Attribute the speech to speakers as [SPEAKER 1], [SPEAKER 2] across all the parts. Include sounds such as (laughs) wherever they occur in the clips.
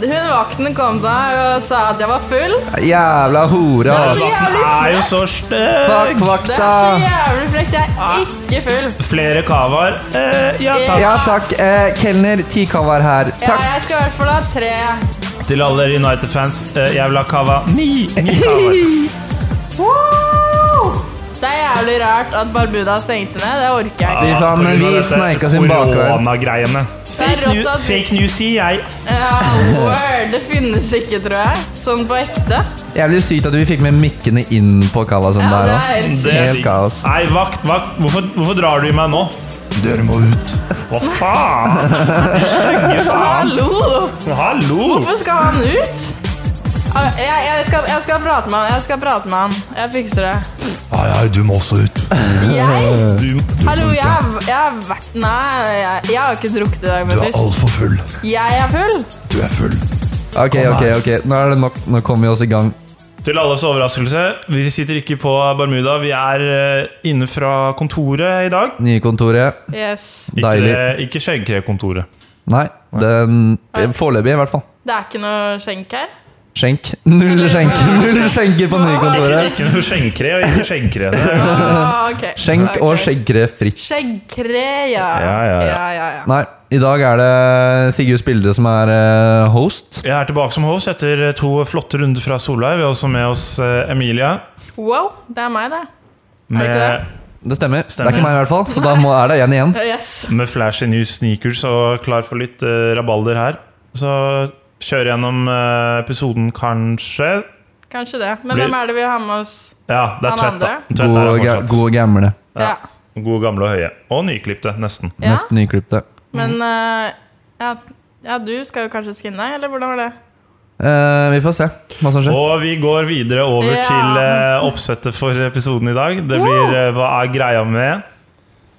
[SPEAKER 1] Vakten kom der og sa at jeg var full.
[SPEAKER 2] Jævla hore,
[SPEAKER 1] er så
[SPEAKER 2] ass.
[SPEAKER 1] jævlig Det er
[SPEAKER 2] Fuck
[SPEAKER 3] Vakten Altså, er jo så stygg!
[SPEAKER 1] så
[SPEAKER 2] vakta.
[SPEAKER 1] jævlig frekt. Jeg er ikke full.
[SPEAKER 3] Flere cavaer. Eh, ja, takk.
[SPEAKER 2] Ja takk. Eh, kelner, ti kavar her.
[SPEAKER 1] Ja,
[SPEAKER 2] Takk.
[SPEAKER 1] jeg skal i hvert fall ha tre. Eh.
[SPEAKER 3] Til alle United-fans, eh, jeg vil ha cava. Ni, ni cavaer.
[SPEAKER 1] Woo! Det er jævlig rart at Barbuda stengte ned. Det orker jeg ikke.
[SPEAKER 2] Fy faen, men vi
[SPEAKER 3] På grunn av Ah, dette
[SPEAKER 2] sneika sin bakvei.
[SPEAKER 3] Koronagreiene.
[SPEAKER 1] Det er
[SPEAKER 3] Fake,
[SPEAKER 1] rått
[SPEAKER 3] new-
[SPEAKER 1] at-
[SPEAKER 3] fake news, sier jeg.
[SPEAKER 1] Ja, word. Det finnes ikke, tror jeg. Sånn på ekte.
[SPEAKER 2] Jævlig sykt at vi fikk med mikkene inn på kava sånn
[SPEAKER 1] Ja,
[SPEAKER 2] der
[SPEAKER 1] det
[SPEAKER 2] òg.
[SPEAKER 1] er helt
[SPEAKER 3] Det-
[SPEAKER 2] Helt kaos.
[SPEAKER 3] Nei, vakt, vakt. Hvorfor, hvorfor drar du i meg nå?
[SPEAKER 2] Dere må ut.
[SPEAKER 3] Hva faen? Stygge faen.
[SPEAKER 1] Hallo!
[SPEAKER 3] Hallo!
[SPEAKER 1] Hvorfor skal han ut? Ah, Jeg, jeg, skal, jeg skal prate med han. Jeg skal prate med han. Jeg fikser det.
[SPEAKER 4] Nei, nei, du må også ut.
[SPEAKER 1] Jeg?
[SPEAKER 3] Du, du,
[SPEAKER 1] Hallo, jeg, har- jeg har vært Nei, jeg, jeg har ikke drukket i dag,
[SPEAKER 4] Du er
[SPEAKER 1] Mathis.
[SPEAKER 4] altfor full.
[SPEAKER 1] Jeg er full.
[SPEAKER 4] Du er full.
[SPEAKER 2] Ok, ok, ok. Nå er det nok. Nå kommer vi oss i gang.
[SPEAKER 3] til alles overraskelse, vi sitter ikke på Bermuda. Vi er eh, inne fra kontoret i dag.
[SPEAKER 2] Nye kontoret.
[SPEAKER 1] Yes.
[SPEAKER 3] Ikke,
[SPEAKER 2] Deilig.
[SPEAKER 3] det- ikke skjeggkrekontoret.
[SPEAKER 2] Nei, den foreløpig i hvert fall.
[SPEAKER 1] Det er ikke noe skjenk her.
[SPEAKER 2] Skjenk. (laughs)
[SPEAKER 1] (laughs)
[SPEAKER 2] Null skjenk. Null skjenker på nye
[SPEAKER 3] Ikke,
[SPEAKER 2] kontoret.
[SPEAKER 3] ikke noe skjeggkre og ikke skjeggkre. Det er ganske-
[SPEAKER 1] Ah, ok.
[SPEAKER 2] Skjenk og
[SPEAKER 1] Ok.
[SPEAKER 2] skjeggre fritt.
[SPEAKER 1] Skjeggkre, ja.
[SPEAKER 3] Ja, ja, ja.
[SPEAKER 1] ja.
[SPEAKER 2] Nei, i dag er det Sigurd Spildre som er eh, host.
[SPEAKER 3] Jeg er tilbake som host etter to flotte runder fra Solveig. Vi har også med oss eh, Emilia.
[SPEAKER 1] Wow, det er meg, det.
[SPEAKER 3] Med,
[SPEAKER 1] ikke
[SPEAKER 2] Det stemmer.
[SPEAKER 3] Stemmer.
[SPEAKER 2] Det er ikke meg i hvert fall, så da må, er det igjen igjen.
[SPEAKER 1] (laughs) Yes.
[SPEAKER 3] med flashy new sneakers og klar for litt eh, rabalder her. Så kjøre gjennom eh, episoden, kanskje.
[SPEAKER 1] Kanskje det. Men
[SPEAKER 3] Blir-
[SPEAKER 1] hvem er det vi har med oss?
[SPEAKER 3] Ja, det er
[SPEAKER 1] Han
[SPEAKER 3] Tvedt, da.
[SPEAKER 1] andre?
[SPEAKER 3] Tvedt er
[SPEAKER 2] Gode,
[SPEAKER 3] her
[SPEAKER 2] ga-
[SPEAKER 3] fortsatt.
[SPEAKER 2] gode gamle.
[SPEAKER 1] Ja.
[SPEAKER 3] Gode, gamle og høye. Og nyklipte, nesten.
[SPEAKER 1] ja.
[SPEAKER 2] Nesten nyklipte.
[SPEAKER 1] Men eh, ja, ja, du skal jo kanskje skinne deg, eller hvordan var det?
[SPEAKER 2] Eh, vi får se hva som skjer.
[SPEAKER 3] Og vi går videre over
[SPEAKER 1] Ja.
[SPEAKER 3] til eh, oppsettet for episoden i dag. Det blir eh, Hva er greia med?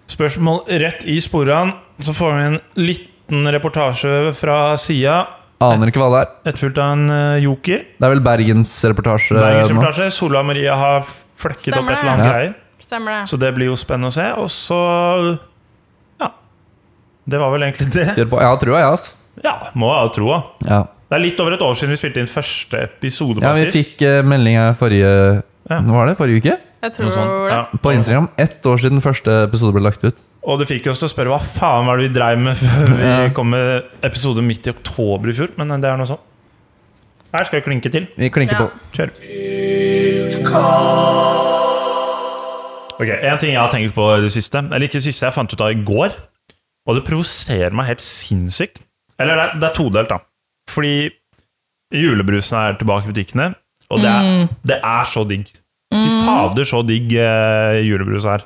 [SPEAKER 3] Spørsmål rett i sporene. Så får vi en liten reportasje fra sida,
[SPEAKER 2] Aner ikke hva det er.
[SPEAKER 3] etterfulgt av en eh, joker.
[SPEAKER 2] Det er vel Bergensreportasje eh,
[SPEAKER 3] Bergens
[SPEAKER 2] nå.
[SPEAKER 3] reportasje. Sola Maria har flekket
[SPEAKER 1] Stemmer
[SPEAKER 3] opp et
[SPEAKER 1] det.
[SPEAKER 3] eller annet
[SPEAKER 2] Ja.
[SPEAKER 3] greier.
[SPEAKER 1] Stemmer det?
[SPEAKER 3] Så det blir jo spennende å se. Og så Ja. Det var vel egentlig det.
[SPEAKER 2] Gjør på. Ja, trua, jeg, altså.
[SPEAKER 3] Ja, må jeg jo tro. da.
[SPEAKER 2] Ja.
[SPEAKER 3] Det er litt over et år siden vi spilte inn første episode,
[SPEAKER 2] ja, vi
[SPEAKER 3] faktisk.
[SPEAKER 2] fikk eh, melding her forrige
[SPEAKER 3] Ja.
[SPEAKER 2] Hva var det? Forrige uke?
[SPEAKER 1] Jeg
[SPEAKER 3] Noe
[SPEAKER 1] tror
[SPEAKER 3] sånt,
[SPEAKER 1] det.
[SPEAKER 3] ja.
[SPEAKER 2] På Instagram. Ett år siden første episode ble lagt ut.
[SPEAKER 3] Og det fikk oss til å spørre hva faen var det vi dreiv med før vi
[SPEAKER 2] Ja.
[SPEAKER 3] kom med episode midt i oktober i fjor, men det er nå sånn. Her skal jeg klinke til.
[SPEAKER 2] Vi klinker
[SPEAKER 1] Ja.
[SPEAKER 2] på.
[SPEAKER 3] Kjør. Ok, En ting jeg har tenkt på i det siste, eller ikke det siste, jeg fant ut av i går, og det provoserer meg helt sinnssykt. Eller det er, det er todelt, da. Fordi julebrusen er tilbake i butikkene, og det er,
[SPEAKER 1] Mm.
[SPEAKER 3] det er så digg. Fy fader, så digg eh, julebrus er.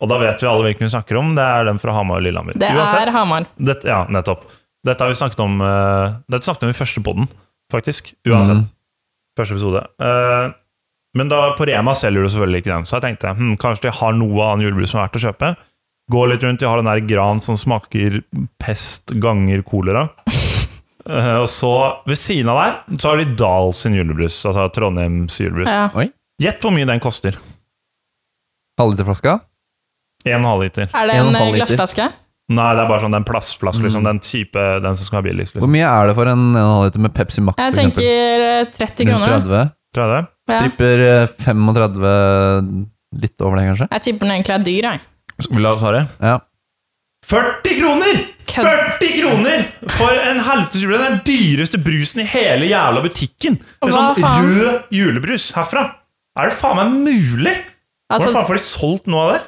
[SPEAKER 3] Og da vet vi alle hvilken vi snakker om. Det er den fra Hamar og Lillehammer.
[SPEAKER 1] Det
[SPEAKER 3] Uansett,
[SPEAKER 1] er Hamar.
[SPEAKER 3] dette, ja, nettopp. Dette har vi snakket om eh, Dette snakket vi om i første podden, faktisk. Uansett.
[SPEAKER 2] Mm.
[SPEAKER 3] Første episode. Eh, men da, på Rema selger du selvfølgelig ikke den, så jeg tenkte hm, kanskje de har noe annen julebrus som er verdt å kjøpe. Gå litt rundt, de har den der gran som smaker pest ganger (laughs) kolera. Eh, og så, ved siden av der, så har de Dahl sin julebrus, altså Trondheims julebrus.
[SPEAKER 1] Ja.
[SPEAKER 2] Oi.
[SPEAKER 3] Gjett hvor mye den koster.
[SPEAKER 2] Halvliterflaska.
[SPEAKER 3] 1,5 liter.
[SPEAKER 1] Er det
[SPEAKER 2] En
[SPEAKER 1] en
[SPEAKER 2] og en halv
[SPEAKER 1] eh,
[SPEAKER 2] liter.
[SPEAKER 1] glassflaske?
[SPEAKER 3] Nei, det er bare sånn den plastflaske, liksom. Den type, den som skal være billigst.
[SPEAKER 2] Hvor
[SPEAKER 3] Liksom.
[SPEAKER 2] mye er det for en 1,5 liter med Pepsi Max?
[SPEAKER 1] Jeg
[SPEAKER 2] for eksempel?
[SPEAKER 1] tenker eh, 30 kroner.
[SPEAKER 2] 30.
[SPEAKER 3] Tror jeg det.
[SPEAKER 1] Ja.
[SPEAKER 2] Tripper eh, 35 Litt over det, kanskje?
[SPEAKER 1] Jeg tipper den egentlig er dyr, jeg.
[SPEAKER 3] Vil du ha svaret?
[SPEAKER 2] Ja.
[SPEAKER 3] 40 kroner!
[SPEAKER 1] Kødd.
[SPEAKER 3] 40 kroner for en helvetes julebrus! Det er den dyreste brusen i hele jævla butikken. En
[SPEAKER 1] Hva
[SPEAKER 3] sånn
[SPEAKER 1] faen?
[SPEAKER 3] rød julebrus herfra. Er det faen meg mulig?
[SPEAKER 1] Altså-
[SPEAKER 3] Hvordan faen får de solgt noe av det?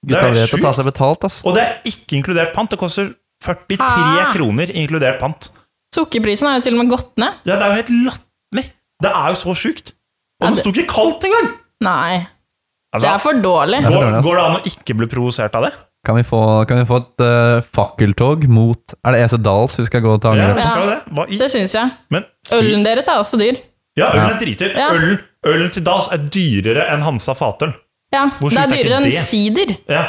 [SPEAKER 3] Det
[SPEAKER 2] Gutta
[SPEAKER 3] er
[SPEAKER 2] vet å ta
[SPEAKER 3] sjukt.
[SPEAKER 2] seg betalt, ass.
[SPEAKER 3] Og det er ikke inkludert pant. Det koster 43
[SPEAKER 1] Hæ?
[SPEAKER 3] kroner inkludert pant.
[SPEAKER 1] Sukkerprisen har jo til og med gått ned.
[SPEAKER 3] Ja, det er jo helt latterlig. Det er jo så sjukt.
[SPEAKER 1] Ja,
[SPEAKER 3] Og det
[SPEAKER 1] det-
[SPEAKER 3] sto ikke kaldt engang!
[SPEAKER 1] Nei, det
[SPEAKER 3] Altså,
[SPEAKER 1] er for dårlig.
[SPEAKER 2] for
[SPEAKER 3] går,
[SPEAKER 2] dårlig, ass.
[SPEAKER 3] går det an å ikke bli provosert av det?
[SPEAKER 2] Kan vi få, kan vi få et eh, fakkeltog mot Er det EC Dahls vi skal gå til
[SPEAKER 3] Ja,
[SPEAKER 2] angrep?
[SPEAKER 3] skal jo det. Hva i?
[SPEAKER 1] Det syns jeg.
[SPEAKER 3] Men
[SPEAKER 1] Ølen deres er også dyr.
[SPEAKER 3] Ja, ølen er dritdyr.
[SPEAKER 1] Ja.
[SPEAKER 3] Ølen, ølen til DAS er dyrere enn Hansa Fatøl.
[SPEAKER 1] Ja,
[SPEAKER 3] Hvor
[SPEAKER 1] Det er
[SPEAKER 3] sjukt er ikke
[SPEAKER 1] dyrere enn
[SPEAKER 3] det?
[SPEAKER 1] sider.
[SPEAKER 3] Ja.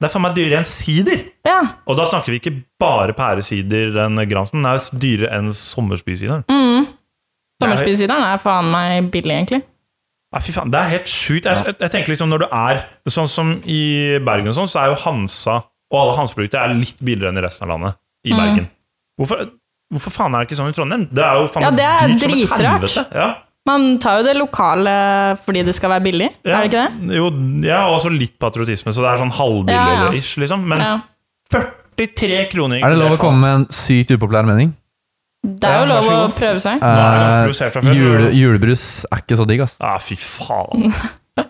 [SPEAKER 3] Det er faen meg dyrere enn sider.
[SPEAKER 1] Ja,
[SPEAKER 3] Og da snakker vi ikke bare pæresider, den Gransen. Den er dyrere enn sommerspysideren.
[SPEAKER 1] Mm. Sommerspisesideren er faen meg billig, egentlig.
[SPEAKER 3] Ja, fy faen, det er helt sjukt. Jeg, jeg, jeg tenker liksom når du er Sånn som i Bergen og sånn,
[SPEAKER 1] Mm.
[SPEAKER 3] så er jo Hansa og alle Hansa-produkter er litt billigere enn i resten av landet. I Bergen. Hvorfor Hvorfor faen er det ikke sånn i Trondheim? Det er jo faen
[SPEAKER 1] Ja, det er
[SPEAKER 3] dyrt som et
[SPEAKER 1] dritrart.
[SPEAKER 3] helvete. Ja.
[SPEAKER 1] Man tar jo det lokale fordi det skal være billig,
[SPEAKER 3] Ja.
[SPEAKER 1] er det ikke det?
[SPEAKER 3] Jo, ja, og så litt patriotisme, så det er sånn
[SPEAKER 1] Ja, ja.
[SPEAKER 3] halvbillig-ish, liksom. Men
[SPEAKER 1] Ja.
[SPEAKER 3] 43 kroner
[SPEAKER 2] Er det lov å komme med en sykt upopulær mening?
[SPEAKER 1] Det er jo
[SPEAKER 3] Ja, vær
[SPEAKER 1] lov
[SPEAKER 3] så
[SPEAKER 1] å
[SPEAKER 3] god.
[SPEAKER 1] prøve seg.
[SPEAKER 3] Nå er jeg ganske
[SPEAKER 2] Eh,
[SPEAKER 3] provosert fra før.
[SPEAKER 2] jule, julebrus er ikke så digg, ass.
[SPEAKER 3] Ja, fy faen. Ah,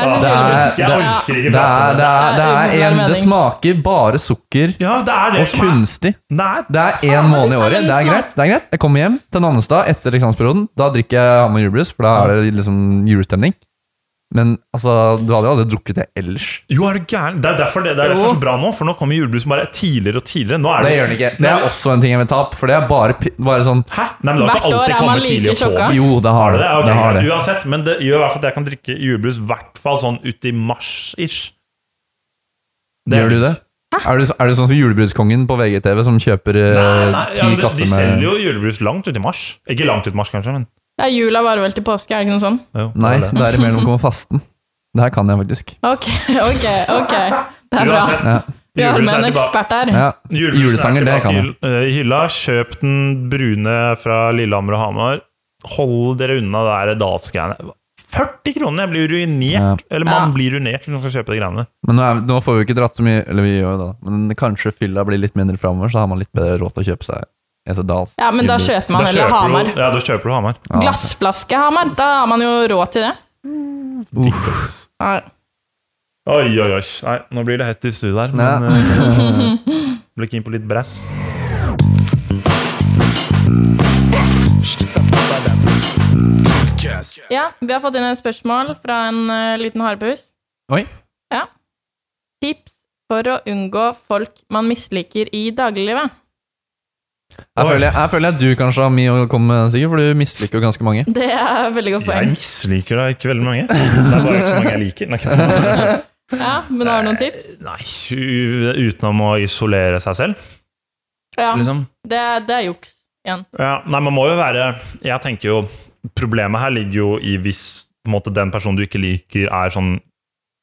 [SPEAKER 1] Jeg synes
[SPEAKER 2] Det
[SPEAKER 1] jo-
[SPEAKER 2] er, det
[SPEAKER 3] Jeg
[SPEAKER 2] er,
[SPEAKER 3] orker
[SPEAKER 2] det
[SPEAKER 3] ikke prate
[SPEAKER 2] er,
[SPEAKER 3] om
[SPEAKER 2] det
[SPEAKER 3] det.
[SPEAKER 2] er, det er en Det smaker bare sukker
[SPEAKER 3] Ja, det er det
[SPEAKER 2] og kunstig.
[SPEAKER 3] Det er
[SPEAKER 2] Det er én måned i året. Det er greit. det er greit Jeg kommer hjem til Nannestad etter eksamensperioden. Da drikker jeg Hamar julebrus, for da er det liksom julestemning. Men altså, du hadde jo aldri drukket det ellers.
[SPEAKER 3] Jo, er du gæren? Det er derfor det, det er derfor det er så bra nå, for nå kommer julebrusen bare tidligere og tidligere. Nå er
[SPEAKER 2] Det gjør den ikke. Det er også en ting jeg vil ta opp, for det er bare, pri- bare sånn
[SPEAKER 3] Hæ? Nei, men det
[SPEAKER 1] Hvert
[SPEAKER 3] har
[SPEAKER 1] år
[SPEAKER 3] ikke alltid
[SPEAKER 1] er man
[SPEAKER 3] kommet
[SPEAKER 1] like
[SPEAKER 3] tidlig
[SPEAKER 1] sjokka.
[SPEAKER 3] på.
[SPEAKER 2] Jo, det har
[SPEAKER 3] Er det
[SPEAKER 2] det.
[SPEAKER 3] det? Ok,
[SPEAKER 2] det, har
[SPEAKER 3] greit.
[SPEAKER 2] det.
[SPEAKER 3] Uansett, men det gjør i hvert fall at jeg kan drikke julebrus i hvert fall sånn uti mars-ish. Det er
[SPEAKER 2] Gjør du det? Er du, er du sånn som julebrudskongen på VGTV som kjøper eh,
[SPEAKER 3] Nei, nei,
[SPEAKER 2] ti
[SPEAKER 3] ja, de, de
[SPEAKER 2] kasser
[SPEAKER 3] selger
[SPEAKER 2] med
[SPEAKER 3] jo julebrus langt uti mars. Ikke langt uti mars, kanskje, men
[SPEAKER 1] Ja, jula varer vel til påske, er det ikke noe sånn?
[SPEAKER 3] jo, det
[SPEAKER 2] Nei,
[SPEAKER 3] er det.
[SPEAKER 2] derimellom kommer fasten. Det her kan jeg faktisk.
[SPEAKER 1] Ok, (laughs) ok, ok. Det er bra.
[SPEAKER 3] Uansett,
[SPEAKER 2] Ja.
[SPEAKER 1] Vi har med en
[SPEAKER 3] tilbake.
[SPEAKER 1] ekspert her.
[SPEAKER 2] Ja.
[SPEAKER 3] Julebrusen er
[SPEAKER 2] Julesanger, det
[SPEAKER 3] tilbake
[SPEAKER 2] kan jeg.
[SPEAKER 3] i- eh, i hylla. Kjøp den brune fra Lillehammer og Hamar. Hold dere unna det der dalsgreiene. 40 kroner! Jeg blir ruinert. Eller man
[SPEAKER 1] Ja.
[SPEAKER 3] blir ruinert når man skal kjøpe de greiene.
[SPEAKER 2] Men nå, er, nå får vi ikke dratt så mye Eller vi gjør jo det, da. men kanskje fylla blir litt mindre framover, så har man litt bedre råd til å kjøpe seg EC Dahls.
[SPEAKER 1] Ja, men da
[SPEAKER 2] julebrus.
[SPEAKER 1] kjøper man heller
[SPEAKER 3] kjøper
[SPEAKER 1] Hamar.
[SPEAKER 3] Du, ja, da kjøper du Hamar.
[SPEAKER 1] Glassflaske Hamar, da har man jo råd til det.
[SPEAKER 3] Uff.
[SPEAKER 1] Nei.
[SPEAKER 3] Oi, oi, oi. Nei, nå blir det hett i studio her. Men
[SPEAKER 2] Ja.
[SPEAKER 1] (laughs)
[SPEAKER 3] eh, blir keen på litt brass.
[SPEAKER 1] Ja, vi har fått inn et spørsmål fra en eh, liten harepus.
[SPEAKER 2] Oi.
[SPEAKER 1] Ja. Tips for å unngå folk man misliker i dagliglivet.
[SPEAKER 2] Her føler, jeg, her føler jeg at du kanskje har mye å komme med, Sigurd, for du misliker jo ganske mange.
[SPEAKER 1] Det er et veldig godt
[SPEAKER 3] Jeg
[SPEAKER 1] poeng.
[SPEAKER 3] misliker da ikke veldig mange. Det er bare ikke så mange jeg liker. Nei,
[SPEAKER 1] Ja, men har du noen tips?
[SPEAKER 3] Nei, (laughs) u- utenom å isolere seg selv,
[SPEAKER 1] Ja,
[SPEAKER 3] liksom.
[SPEAKER 1] det, er- det er juks igjen.
[SPEAKER 3] Ja, nei, man må jo være Jeg tenker jo Problemet her ligger jo i hvis på en måte, den personen du ikke liker, er sånn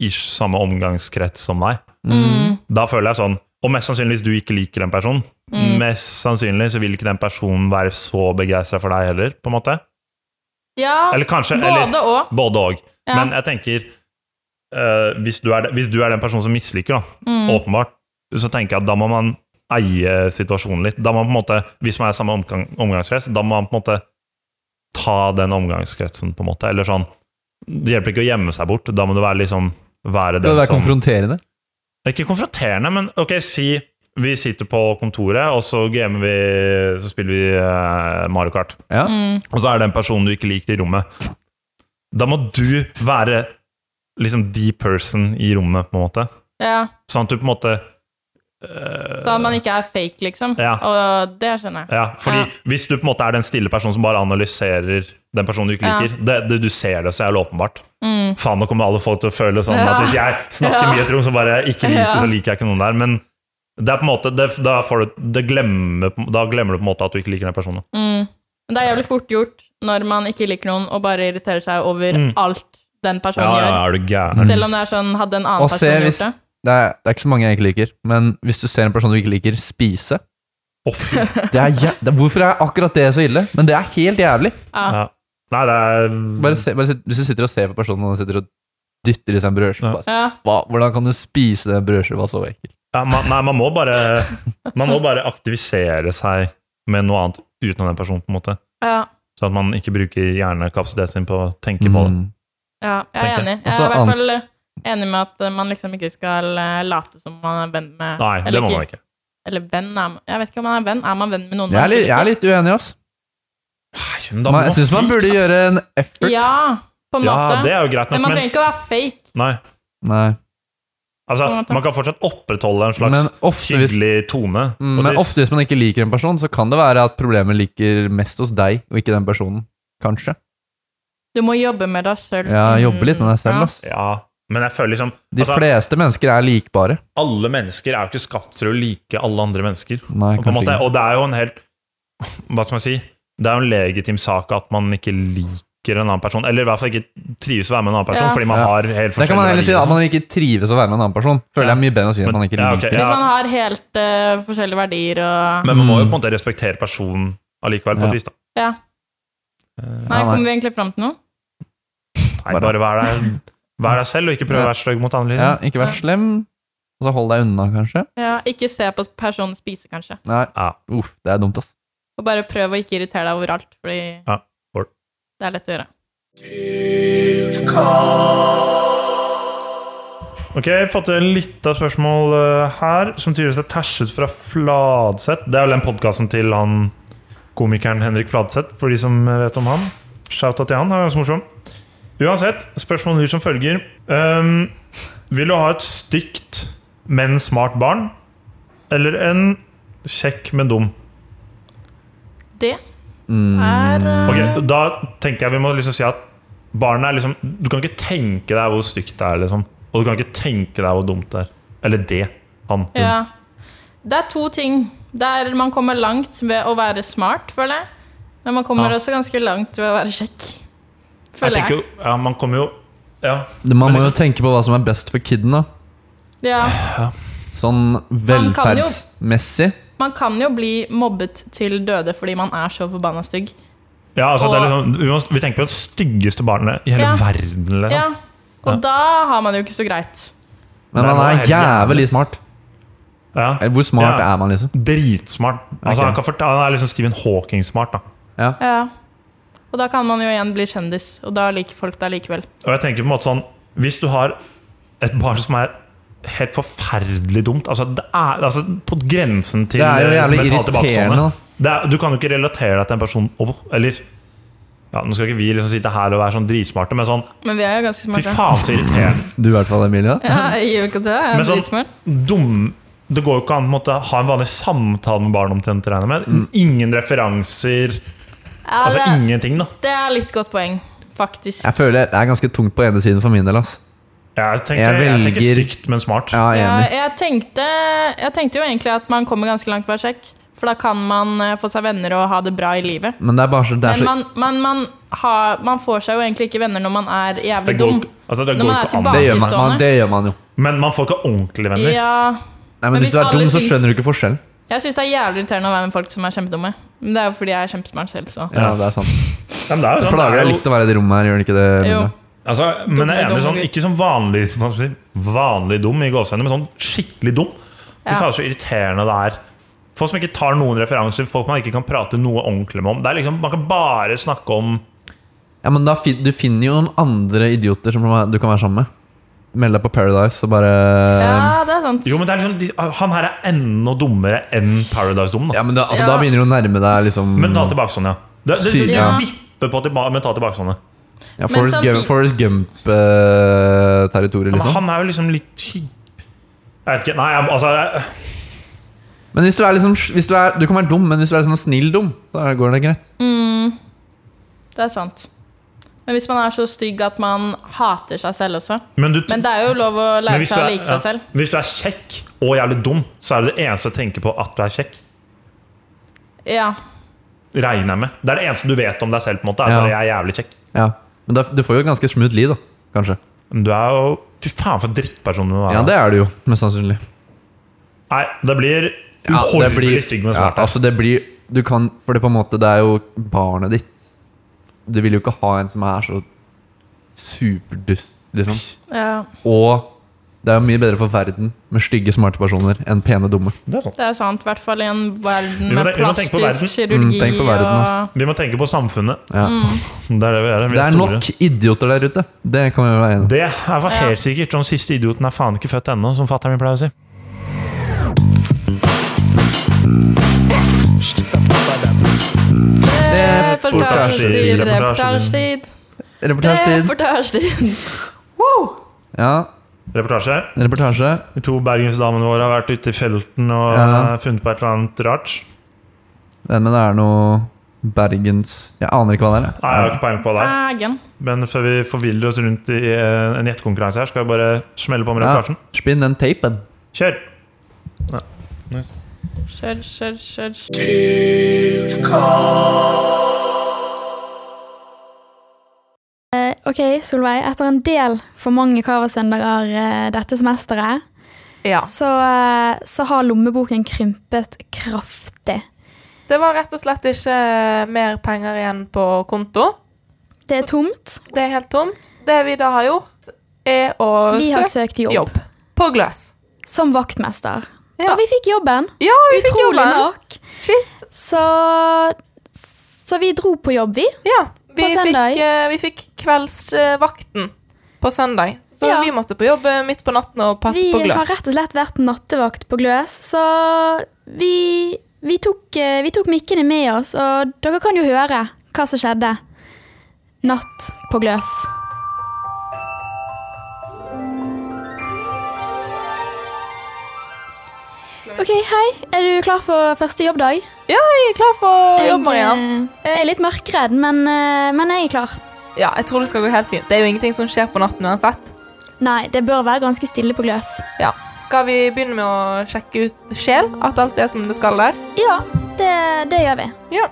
[SPEAKER 3] ish samme omgangskrets som deg.
[SPEAKER 1] Mm.
[SPEAKER 3] Da føler jeg sånn Og mest sannsynlig hvis du ikke liker den personen,
[SPEAKER 1] Mm.
[SPEAKER 3] mest sannsynlig så vil ikke den personen være så begeistra for deg heller, på en måte.
[SPEAKER 1] Ja,
[SPEAKER 3] Eller kanskje eller,
[SPEAKER 1] både og.
[SPEAKER 3] Både og.
[SPEAKER 1] Ja.
[SPEAKER 3] Men jeg tenker eh, hvis, du er, de- hvis du er den personen som misliker, da,
[SPEAKER 1] Mm.
[SPEAKER 3] åpenbart, så tenker jeg at da må man eie situasjonen litt. Da må man på en måte, Hvis man er i samme omgang, omgangskrets, da må man på en måte ta den omgangskretsen, på en måte. Eller sånn Det hjelper ikke å gjemme seg bort. Da må du være liksom være
[SPEAKER 2] Skal
[SPEAKER 3] den
[SPEAKER 2] det være
[SPEAKER 3] som
[SPEAKER 2] konfronterende?
[SPEAKER 3] Ikke konfronterende, men ok, si vi sitter på kontoret, og så gamer vi Så spiller vi eh, Mario Kart.
[SPEAKER 2] Ja.
[SPEAKER 3] Og så er det en person du ikke liker i rommet. Da må du være liksom the person i rommet, på en måte.
[SPEAKER 1] Ja,
[SPEAKER 3] Sånn at du på en måte
[SPEAKER 1] så at man ikke er fake, liksom.
[SPEAKER 3] Eh, Ja.
[SPEAKER 1] Og det skjønner jeg.
[SPEAKER 3] Ja, fordi
[SPEAKER 1] Ja.
[SPEAKER 3] hvis du på en måte er den stille personen som bare analyserer den personen du ikke
[SPEAKER 1] Ja. Mm.
[SPEAKER 3] liker det, det, Du ser det så jævlig åpenbart. Faen, nå kommer alle folk til å føle sånn
[SPEAKER 1] Ja.
[SPEAKER 3] at hvis jeg snakker
[SPEAKER 1] Ja.
[SPEAKER 3] mye i et rom som bare jeg ikke liker,
[SPEAKER 1] Ja.
[SPEAKER 3] så liker jeg ikke noen der. Men det er på en måte, det, da, får du, det glemmer, da glemmer du på en måte at du ikke liker den personen.
[SPEAKER 1] Mm. Men det er jævlig fort gjort når man ikke liker noen og bare irriterer seg over
[SPEAKER 3] Mm.
[SPEAKER 1] alt den personen gjør.
[SPEAKER 3] er du gæren?
[SPEAKER 1] Selv om det er sånn hadde en annen
[SPEAKER 2] Og se
[SPEAKER 1] person
[SPEAKER 2] hvis
[SPEAKER 1] gjort det.
[SPEAKER 2] det er, det er ikke så mange jeg ikke liker, men hvis du ser en person du ikke liker, spise
[SPEAKER 3] Å, fy.
[SPEAKER 2] det er, jæ- det er, Hvorfor er akkurat det så ille? Men det er helt jævlig.
[SPEAKER 3] Ja. Nei, det er
[SPEAKER 2] Bare se, bare sit- hvis du sitter og ser på personen og den sitter og dytter i seg en brødskive bare,
[SPEAKER 1] Ja.
[SPEAKER 2] hva, Hvordan kan du spise den brødskiva så ekkelt?
[SPEAKER 3] Ja, man, nei, man må, bare, man må bare aktivisere seg med noe annet utenom den personen, på en måte.
[SPEAKER 1] Ja,
[SPEAKER 3] Så at man ikke bruker hjernekapasiteten sin på å tenke på det.
[SPEAKER 2] Mm.
[SPEAKER 1] ja, jeg er
[SPEAKER 3] Tenker jeg.
[SPEAKER 1] enig. Jeg
[SPEAKER 2] Også
[SPEAKER 1] er i hvert
[SPEAKER 2] annet-
[SPEAKER 1] fall enig med at eh, man liksom ikke skal eh, late som man er venn med
[SPEAKER 3] Nei, det
[SPEAKER 1] eller,
[SPEAKER 3] må man
[SPEAKER 1] ikke,
[SPEAKER 3] ikke.
[SPEAKER 1] eller venn er man Jeg vet ikke om man er venn. Er man venn med noen?
[SPEAKER 2] Jeg,
[SPEAKER 1] man
[SPEAKER 2] er litt,
[SPEAKER 1] ikke
[SPEAKER 2] jeg er litt uenig, ass.
[SPEAKER 3] Nei, da må
[SPEAKER 2] Man, jeg syns man
[SPEAKER 3] fake,
[SPEAKER 2] burde
[SPEAKER 3] da.
[SPEAKER 2] gjøre en effort.
[SPEAKER 1] liker? Ja, på en
[SPEAKER 3] Ja,
[SPEAKER 1] måte.
[SPEAKER 3] det er jo greit
[SPEAKER 1] men man
[SPEAKER 3] nok, men
[SPEAKER 1] trenger ikke å være fake.
[SPEAKER 3] nei.
[SPEAKER 2] Nei.
[SPEAKER 3] Altså,
[SPEAKER 1] På en måte.
[SPEAKER 3] man kan fortsatt opprettholde en slags
[SPEAKER 2] Men ofte hvis-
[SPEAKER 3] hyggelig tone.
[SPEAKER 2] Mm,
[SPEAKER 3] Og
[SPEAKER 2] Men
[SPEAKER 3] det-
[SPEAKER 2] ofte hvis man ikke liker en person, så kan det være at problemet ligger mest hos deg, og ikke den personen. Kanskje.
[SPEAKER 1] Du må jobbe med deg Mm, sjøl.
[SPEAKER 2] Ja, jobbe litt med deg selv, ass.
[SPEAKER 3] Ja, men jeg føler liksom
[SPEAKER 2] De
[SPEAKER 3] altså,
[SPEAKER 2] fleste mennesker er likbare.
[SPEAKER 3] Alle mennesker er jo ikke skapt til å like alle andre mennesker.
[SPEAKER 2] Nei,
[SPEAKER 3] Og på en
[SPEAKER 2] kanskje
[SPEAKER 3] måte,
[SPEAKER 2] ikke.
[SPEAKER 3] og det er jo en helt Hva skal man si? Det er jo en legitim sak at man ikke liker liker en annen person, eller i hvert fall ikke trives å være med en annen person,
[SPEAKER 1] Ja.
[SPEAKER 3] fordi man
[SPEAKER 2] Ja.
[SPEAKER 3] har helt
[SPEAKER 2] Det kan man
[SPEAKER 3] forskjellige
[SPEAKER 2] heller si at
[SPEAKER 3] verdier og sånn.
[SPEAKER 2] man ikke trives å være med en annen person. Føler jeg er mye bedre å si at
[SPEAKER 3] Men-
[SPEAKER 2] man ikke
[SPEAKER 3] ja, ok,
[SPEAKER 2] liker
[SPEAKER 3] ja.
[SPEAKER 1] Hvis man har helt eh, forskjellige verdier og
[SPEAKER 3] Men man må jo på en måte respektere personen allikevel,
[SPEAKER 2] Mm.
[SPEAKER 3] på
[SPEAKER 2] Ja.
[SPEAKER 3] et vis. da.
[SPEAKER 1] Ja. Nei,
[SPEAKER 2] ja, nei.
[SPEAKER 1] kommer vi egentlig fram til noe?
[SPEAKER 3] Nei, bare vær deg, vær deg selv, og ikke prøv å være stygg mot andre.
[SPEAKER 2] Ja,
[SPEAKER 3] Liksom.
[SPEAKER 2] ikke vær slem, og så hold deg unna, kanskje.
[SPEAKER 1] Ja, ikke se på personen spise, kanskje.
[SPEAKER 2] Nei,
[SPEAKER 3] Ja.
[SPEAKER 2] uff, det er dumt, ass.
[SPEAKER 1] Og bare prøv å ikke irritere deg overalt, fordi
[SPEAKER 3] Ja. Or-
[SPEAKER 1] det er lett å gjøre.
[SPEAKER 3] Ok, fått en liten spørsmål eh, her, som tydeligvis er tæsjet fra Fladseth. Det er vel den podkasten til han komikeren Henrik Fladseth, for de som vet om han. Shout-out til han, han er ganske morsom. Uansett, spørsmålet lyder som følger. Ehm, vil du ha et stygt, men smart barn? Eller en kjekk, men dum?
[SPEAKER 1] Det er eh,
[SPEAKER 3] Ok, Da tenker jeg vi må liksom si at barnet er liksom Du kan ikke tenke deg hvor stygt det er, liksom. Og du kan ikke tenke deg hvor dumt det er. Eller det. Han. hun.
[SPEAKER 1] Ja. Det er to ting. Der man kommer langt ved å være smart, føler jeg. Men man kommer
[SPEAKER 3] Ja.
[SPEAKER 1] også ganske langt ved å være kjekk.
[SPEAKER 3] Jeg
[SPEAKER 1] Føler
[SPEAKER 3] tenker
[SPEAKER 1] jeg.
[SPEAKER 3] jo Ja, man kommer jo Ja.
[SPEAKER 2] Man
[SPEAKER 3] Men
[SPEAKER 2] må jo
[SPEAKER 3] liksom-
[SPEAKER 2] tenke på hva som er best for kiden, da.
[SPEAKER 1] Ja.
[SPEAKER 2] Sånn
[SPEAKER 1] Man kan jo-
[SPEAKER 2] velferdsmessig.
[SPEAKER 1] Man kan jo bli mobbet til døde fordi man er så forbanna stygg.
[SPEAKER 3] ja altså, det er
[SPEAKER 1] Og-
[SPEAKER 3] liksom, vi, må, vi tenker på det styggeste barnet i hele
[SPEAKER 1] Ja.
[SPEAKER 3] verden. Liksom.
[SPEAKER 1] Ja. Og da har man det jo ikke så greit.
[SPEAKER 2] Men
[SPEAKER 3] Nei,
[SPEAKER 2] man
[SPEAKER 3] man er
[SPEAKER 2] er
[SPEAKER 3] helt
[SPEAKER 2] jævlig smart.
[SPEAKER 3] Ja.
[SPEAKER 2] Eller hvor smart
[SPEAKER 3] Ja.
[SPEAKER 2] er man, liksom?
[SPEAKER 3] Dritsmart. Altså,
[SPEAKER 2] Ok.
[SPEAKER 3] han, kan fortelle, han er liksom Stephen Hawking-smart. da
[SPEAKER 2] Ja.
[SPEAKER 1] Ja. Og da kan man jo igjen bli kjendis, og da liker folk deg likevel.
[SPEAKER 3] Og jeg tenker på en måte sånn Hvis du har et barn som er helt forferdelig dumt Altså, det er, altså på grensen til
[SPEAKER 2] Det er jo
[SPEAKER 3] eh,
[SPEAKER 2] jævlig
[SPEAKER 3] mentalt tilbakestående.
[SPEAKER 2] irriterende, da.
[SPEAKER 3] det er, Du kan jo ikke relatere deg til en person over, Eller ja, Nå skal ikke vi liksom sitte her og være sånn dritsmarte, men sånn
[SPEAKER 1] Men vi er jo ganske
[SPEAKER 3] Fy
[SPEAKER 1] smarte.
[SPEAKER 3] faen, så irriterende.
[SPEAKER 2] Du i hvert fall, Emilie.
[SPEAKER 1] Ja, jeg gjør ikke det. Jeg
[SPEAKER 3] Men
[SPEAKER 1] er
[SPEAKER 3] sånn-
[SPEAKER 1] dritsmart.
[SPEAKER 3] Dum Det går jo ikke an å måtte ha en vanlig samtale med barn omtrent, regner jeg
[SPEAKER 2] Mm.
[SPEAKER 3] med. Ingen referanser,
[SPEAKER 1] Ja,
[SPEAKER 3] altså
[SPEAKER 1] det,
[SPEAKER 3] ingenting, da.
[SPEAKER 1] det er litt godt poeng, faktisk.
[SPEAKER 2] Jeg føler det er ganske tungt på ene siden for min del. ass
[SPEAKER 3] Jeg tenker, jeg tenker
[SPEAKER 2] velger-
[SPEAKER 3] stygt, men smart.
[SPEAKER 2] Ja, jeg er
[SPEAKER 1] Ja,
[SPEAKER 2] enig.
[SPEAKER 1] jeg, tenkte, jeg tenkte jo egentlig at man kommer ganske langt ved å være kjekk. For da kan man eh, få seg venner og ha det bra i livet.
[SPEAKER 2] Men det er bare så, det er
[SPEAKER 1] Men
[SPEAKER 2] så
[SPEAKER 1] man, man, man, har, man får seg jo egentlig ikke venner når man er jævlig
[SPEAKER 3] Det går,
[SPEAKER 1] dum.
[SPEAKER 3] ikke- altså, det
[SPEAKER 1] Når
[SPEAKER 3] går
[SPEAKER 1] man er
[SPEAKER 3] ikke an.
[SPEAKER 1] tilbake-
[SPEAKER 2] det, gjør man,
[SPEAKER 1] tilbakestående.
[SPEAKER 2] man, det gjør man jo.
[SPEAKER 3] Men man får ikke ordentlige venner.
[SPEAKER 1] Ja,
[SPEAKER 2] Nei, men,
[SPEAKER 1] Men
[SPEAKER 2] Hvis du
[SPEAKER 1] hvis
[SPEAKER 2] er
[SPEAKER 1] alle
[SPEAKER 2] dum, så
[SPEAKER 1] syng-
[SPEAKER 2] skjønner du ikke forskjellen.
[SPEAKER 1] jeg syns det er jævlig irriterende å være med folk som er kjempedumme. Men det er jo fordi jeg er kjempesmart selv, så.
[SPEAKER 2] Ja, det er sant
[SPEAKER 3] Ja, men det er jo
[SPEAKER 2] Det
[SPEAKER 3] sånn,
[SPEAKER 2] plager
[SPEAKER 3] det er
[SPEAKER 2] deg
[SPEAKER 3] jo-
[SPEAKER 2] litt å være i det rommet her, gjør det ikke det?
[SPEAKER 1] Jo.
[SPEAKER 2] Emilie?
[SPEAKER 3] Altså, men jeg er enig
[SPEAKER 1] dum,
[SPEAKER 3] sånn,
[SPEAKER 1] gutt.
[SPEAKER 3] ikke sånn vanlig, hva skal jeg si, vanlig dum i gåsehendene, men sånn skikkelig dum. Fy
[SPEAKER 1] Ja.
[SPEAKER 3] faen, så irriterende det er. Folk som ikke tar noen referanser, folk man ikke kan prate noe ordentlig med om. Det er liksom, Man kan bare snakke om
[SPEAKER 2] Ja, men da, fin- Du finner jo noen andre idioter som du kan være sammen med. Meld deg på Paradise og bare Um,
[SPEAKER 1] Ja, det er sant.
[SPEAKER 3] Jo, men det er liksom, de- Han her er enda dummere enn Paradise-dum. da.
[SPEAKER 2] Ja, men da, altså,
[SPEAKER 1] Ja.
[SPEAKER 2] da begynner du å nærme deg liksom
[SPEAKER 3] Men ta tilbake sånn, ja. Det, det,
[SPEAKER 2] Sykt,
[SPEAKER 3] det,
[SPEAKER 2] ja.
[SPEAKER 3] vipper på tilbake, men ta tilbake sånne.
[SPEAKER 2] ja, Forest,
[SPEAKER 1] samtidig-
[SPEAKER 2] Gump, Forrest Gump eh, territoriet
[SPEAKER 3] Men
[SPEAKER 2] liksom.
[SPEAKER 3] han er jo liksom litt hy- Jeg vet ikke, nei, jeg, altså jeg,
[SPEAKER 2] Men hvis du er liksom hvis du, er, du kan være dum, men hvis du er liksom snill dum, da går det greit.
[SPEAKER 1] Det er sant. Men hvis man er så stygg at man hater seg selv også
[SPEAKER 3] Men du
[SPEAKER 1] Men det er jo lov å
[SPEAKER 3] Men
[SPEAKER 1] lære
[SPEAKER 3] hvis du,
[SPEAKER 1] seg å
[SPEAKER 3] er,
[SPEAKER 1] like seg
[SPEAKER 3] ja,
[SPEAKER 1] selv.
[SPEAKER 3] hvis du er kjekk og jævlig dum, så er det det eneste jeg tenker på at du er kjekk.
[SPEAKER 1] Ja.
[SPEAKER 3] Regner jeg med. Det er det eneste du vet om deg selv. på en måte Er
[SPEAKER 2] Ja.
[SPEAKER 3] bare jeg er jævlig kjekk
[SPEAKER 2] Ja. Men da, du får jo et ganske smooth liv, da. Kanskje.
[SPEAKER 3] Men du er jo Fy faen, for en drittperson du er.
[SPEAKER 2] Ja, det er du jo, mest sannsynlig.
[SPEAKER 3] Nei, det blir
[SPEAKER 2] Ja,
[SPEAKER 3] uhorvelig stygg med
[SPEAKER 2] ja,
[SPEAKER 3] svart.
[SPEAKER 2] altså det blir Du kan For det på en måte Det er jo barnet ditt. Du vil jo ikke ha en som er så superdust, liksom.
[SPEAKER 1] ja.
[SPEAKER 2] Og det er jo mye bedre for verden med stygge, smarte personer enn pene, dumme.
[SPEAKER 3] Det er sånn. sant.
[SPEAKER 1] Det er sant. I hvert fall i en verden
[SPEAKER 3] Vi må
[SPEAKER 1] med
[SPEAKER 3] te- vi må tenke på
[SPEAKER 1] plastisk
[SPEAKER 2] Mm,
[SPEAKER 1] kirurgi
[SPEAKER 2] tenk på verden, ass.
[SPEAKER 1] og
[SPEAKER 3] Vi må tenke på samfunnet.
[SPEAKER 2] Ja.
[SPEAKER 1] Mm.
[SPEAKER 3] Det er det vi er. Vi
[SPEAKER 2] Det er
[SPEAKER 3] store.
[SPEAKER 2] nok idioter der ute. Det kan vi jo være enige om.
[SPEAKER 3] Det er for
[SPEAKER 1] Ja.
[SPEAKER 3] helt sikkert. Den siste idioten er faen ikke født ennå, som fatter'n min pleier å si.
[SPEAKER 1] Reportasjetid,
[SPEAKER 3] Reportasjetid,
[SPEAKER 1] reportasjetid,
[SPEAKER 2] Reportasjetid.
[SPEAKER 1] reportasjetid.
[SPEAKER 2] Ja,
[SPEAKER 3] Reportasje.
[SPEAKER 2] reportasje.
[SPEAKER 3] De to bergensdamene våre har vært ute i felten og
[SPEAKER 2] Ja.
[SPEAKER 3] eh, funnet på et eller annet rart.
[SPEAKER 2] Men det er noe Bergens Jeg aner ikke hva det
[SPEAKER 3] Nei, jeg har ikke peiling på det. her.
[SPEAKER 1] Egen.
[SPEAKER 3] Men før vi forviller oss rundt i eh, en gjettekonkurranse her, skal jeg bare smelle på
[SPEAKER 2] er.
[SPEAKER 3] med reportasjen.
[SPEAKER 2] Ja. Spinn den tapen.
[SPEAKER 3] Kjør!
[SPEAKER 1] Kjør, kjør, kjør. kjør.
[SPEAKER 5] Eh, ok, Solveig, etter en del for mange Kavasøndager eh, dette semesteret,
[SPEAKER 6] Ja.
[SPEAKER 5] så, eh, så har lommeboken krympet kraftig.
[SPEAKER 6] Det var rett og slett ikke eh, mer penger igjen på konto.
[SPEAKER 5] Det er tomt.
[SPEAKER 6] Det er helt tomt. Det vi da har gjort, er å
[SPEAKER 5] Vi har
[SPEAKER 6] søke
[SPEAKER 5] søkt jobb,
[SPEAKER 6] jobb. På Gløs.
[SPEAKER 5] som vaktmester.
[SPEAKER 6] Ja.
[SPEAKER 5] Og vi fikk jobben.
[SPEAKER 6] Ja, vi fikk
[SPEAKER 5] Utrolig
[SPEAKER 6] jobben!
[SPEAKER 5] nok.
[SPEAKER 6] Shit.
[SPEAKER 5] Så, så vi dro på jobb, vi.
[SPEAKER 6] Ja. Vi
[SPEAKER 5] søndag.
[SPEAKER 6] fikk, eh, vi fikk kveldsvakten på søndag. Så
[SPEAKER 5] Ja.
[SPEAKER 6] vi måtte på jobb eh, midt på natten og passe
[SPEAKER 5] Vi
[SPEAKER 6] på
[SPEAKER 5] har
[SPEAKER 6] Gløs.
[SPEAKER 5] rett og slett vært nattevakt på Gløs, så vi, vi, tok, eh, vi tok mikkene med oss, og dere kan jo høre hva som skjedde natt på Gløs. Ok, hei. Er du klar for første jobbdag?
[SPEAKER 6] Ja, jeg er klar for jobb, Mariann.
[SPEAKER 5] Jeg eh, er litt mørkredd, men, eh, men jeg er klar.
[SPEAKER 6] Ja, jeg tror det skal gå helt fint. Det er jo ingenting som skjer på natten uansett.
[SPEAKER 5] Nei, det bør være ganske stille på Gløs.
[SPEAKER 6] Ja. Skal vi begynne med å sjekke ut sjel? At alt er som det skal der?
[SPEAKER 5] Ja, det, det gjør vi.
[SPEAKER 6] Ja.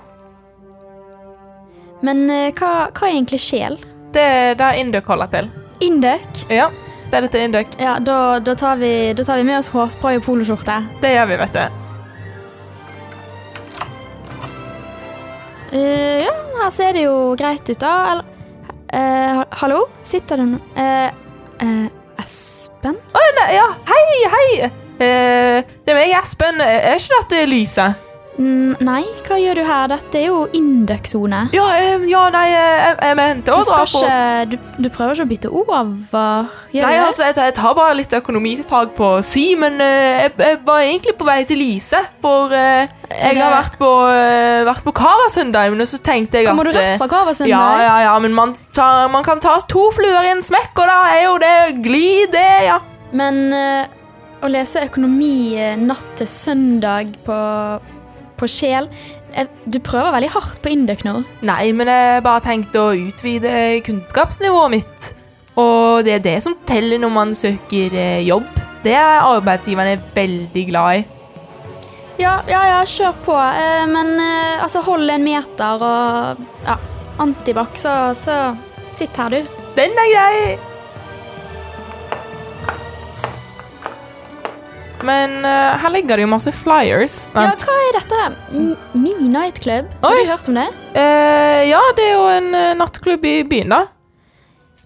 [SPEAKER 5] Men eh, hva, hva er egentlig sjel?
[SPEAKER 6] Det er der Indøk holder til.
[SPEAKER 5] Indøk?
[SPEAKER 6] Ja. Stedet til Indøk.
[SPEAKER 5] Ja, da, da, tar vi, da tar vi med oss hårspray og poloskjorte.
[SPEAKER 6] Det gjør vi, vet du.
[SPEAKER 5] Eh, ja, her ser det jo greit ut, da. Eller eh, ha- Hallo? Sitter du nå Eh, eh, Espen?
[SPEAKER 6] Å, nei, ja. Hei, hei! Eh, det er meg, Espen. Er ikke dette Lyse?
[SPEAKER 5] Mm, nei, hva gjør du her? Dette er jo Indøk-sone.
[SPEAKER 6] Ja, eh, ja, nei, eh, jeg, jeg mente å
[SPEAKER 5] Du
[SPEAKER 6] dra
[SPEAKER 5] skal
[SPEAKER 6] på
[SPEAKER 5] ikke du, du prøver ikke å bytte over? Gjør
[SPEAKER 6] Nei,
[SPEAKER 5] du det?
[SPEAKER 6] altså, jeg, jeg tar bare litt økonomifag på si, men eh, jeg, jeg var egentlig på vei til Lyse, for eh, jeg har vært på, uh, vært på Kavasøndag, men så tenkte jeg at
[SPEAKER 5] Kommer du
[SPEAKER 6] eh,
[SPEAKER 5] rett fra Kavasund?
[SPEAKER 6] Ja, ja, ja, men man, tar, man kan ta to fluer i en smekk, og da er jo det gli, det, ja.
[SPEAKER 5] Men eh, å lese økonomi eh, natt til søndag på, på sjel eh, Du prøver veldig hardt på Indøk nå.
[SPEAKER 6] Nei, men jeg bare tenkte å utvide kunnskapsnivået mitt. Og det er det som teller når man søker eh, jobb. Det er arbeidsgiverne veldig glad i.
[SPEAKER 5] Ja, ja, ja, kjør på. Eh, men eh, altså, hold en meter og ja, antibac, så, så sitt her, du.
[SPEAKER 6] Den er grei! Men eh, her ligger det jo masse flyers.
[SPEAKER 5] Ja,
[SPEAKER 6] Vent.
[SPEAKER 5] hva er dette? M- Me Nightclub? Har
[SPEAKER 6] Oi.
[SPEAKER 5] du hørt om det?
[SPEAKER 6] Eh, ja, det er jo en eh, nattklubb i byen, da.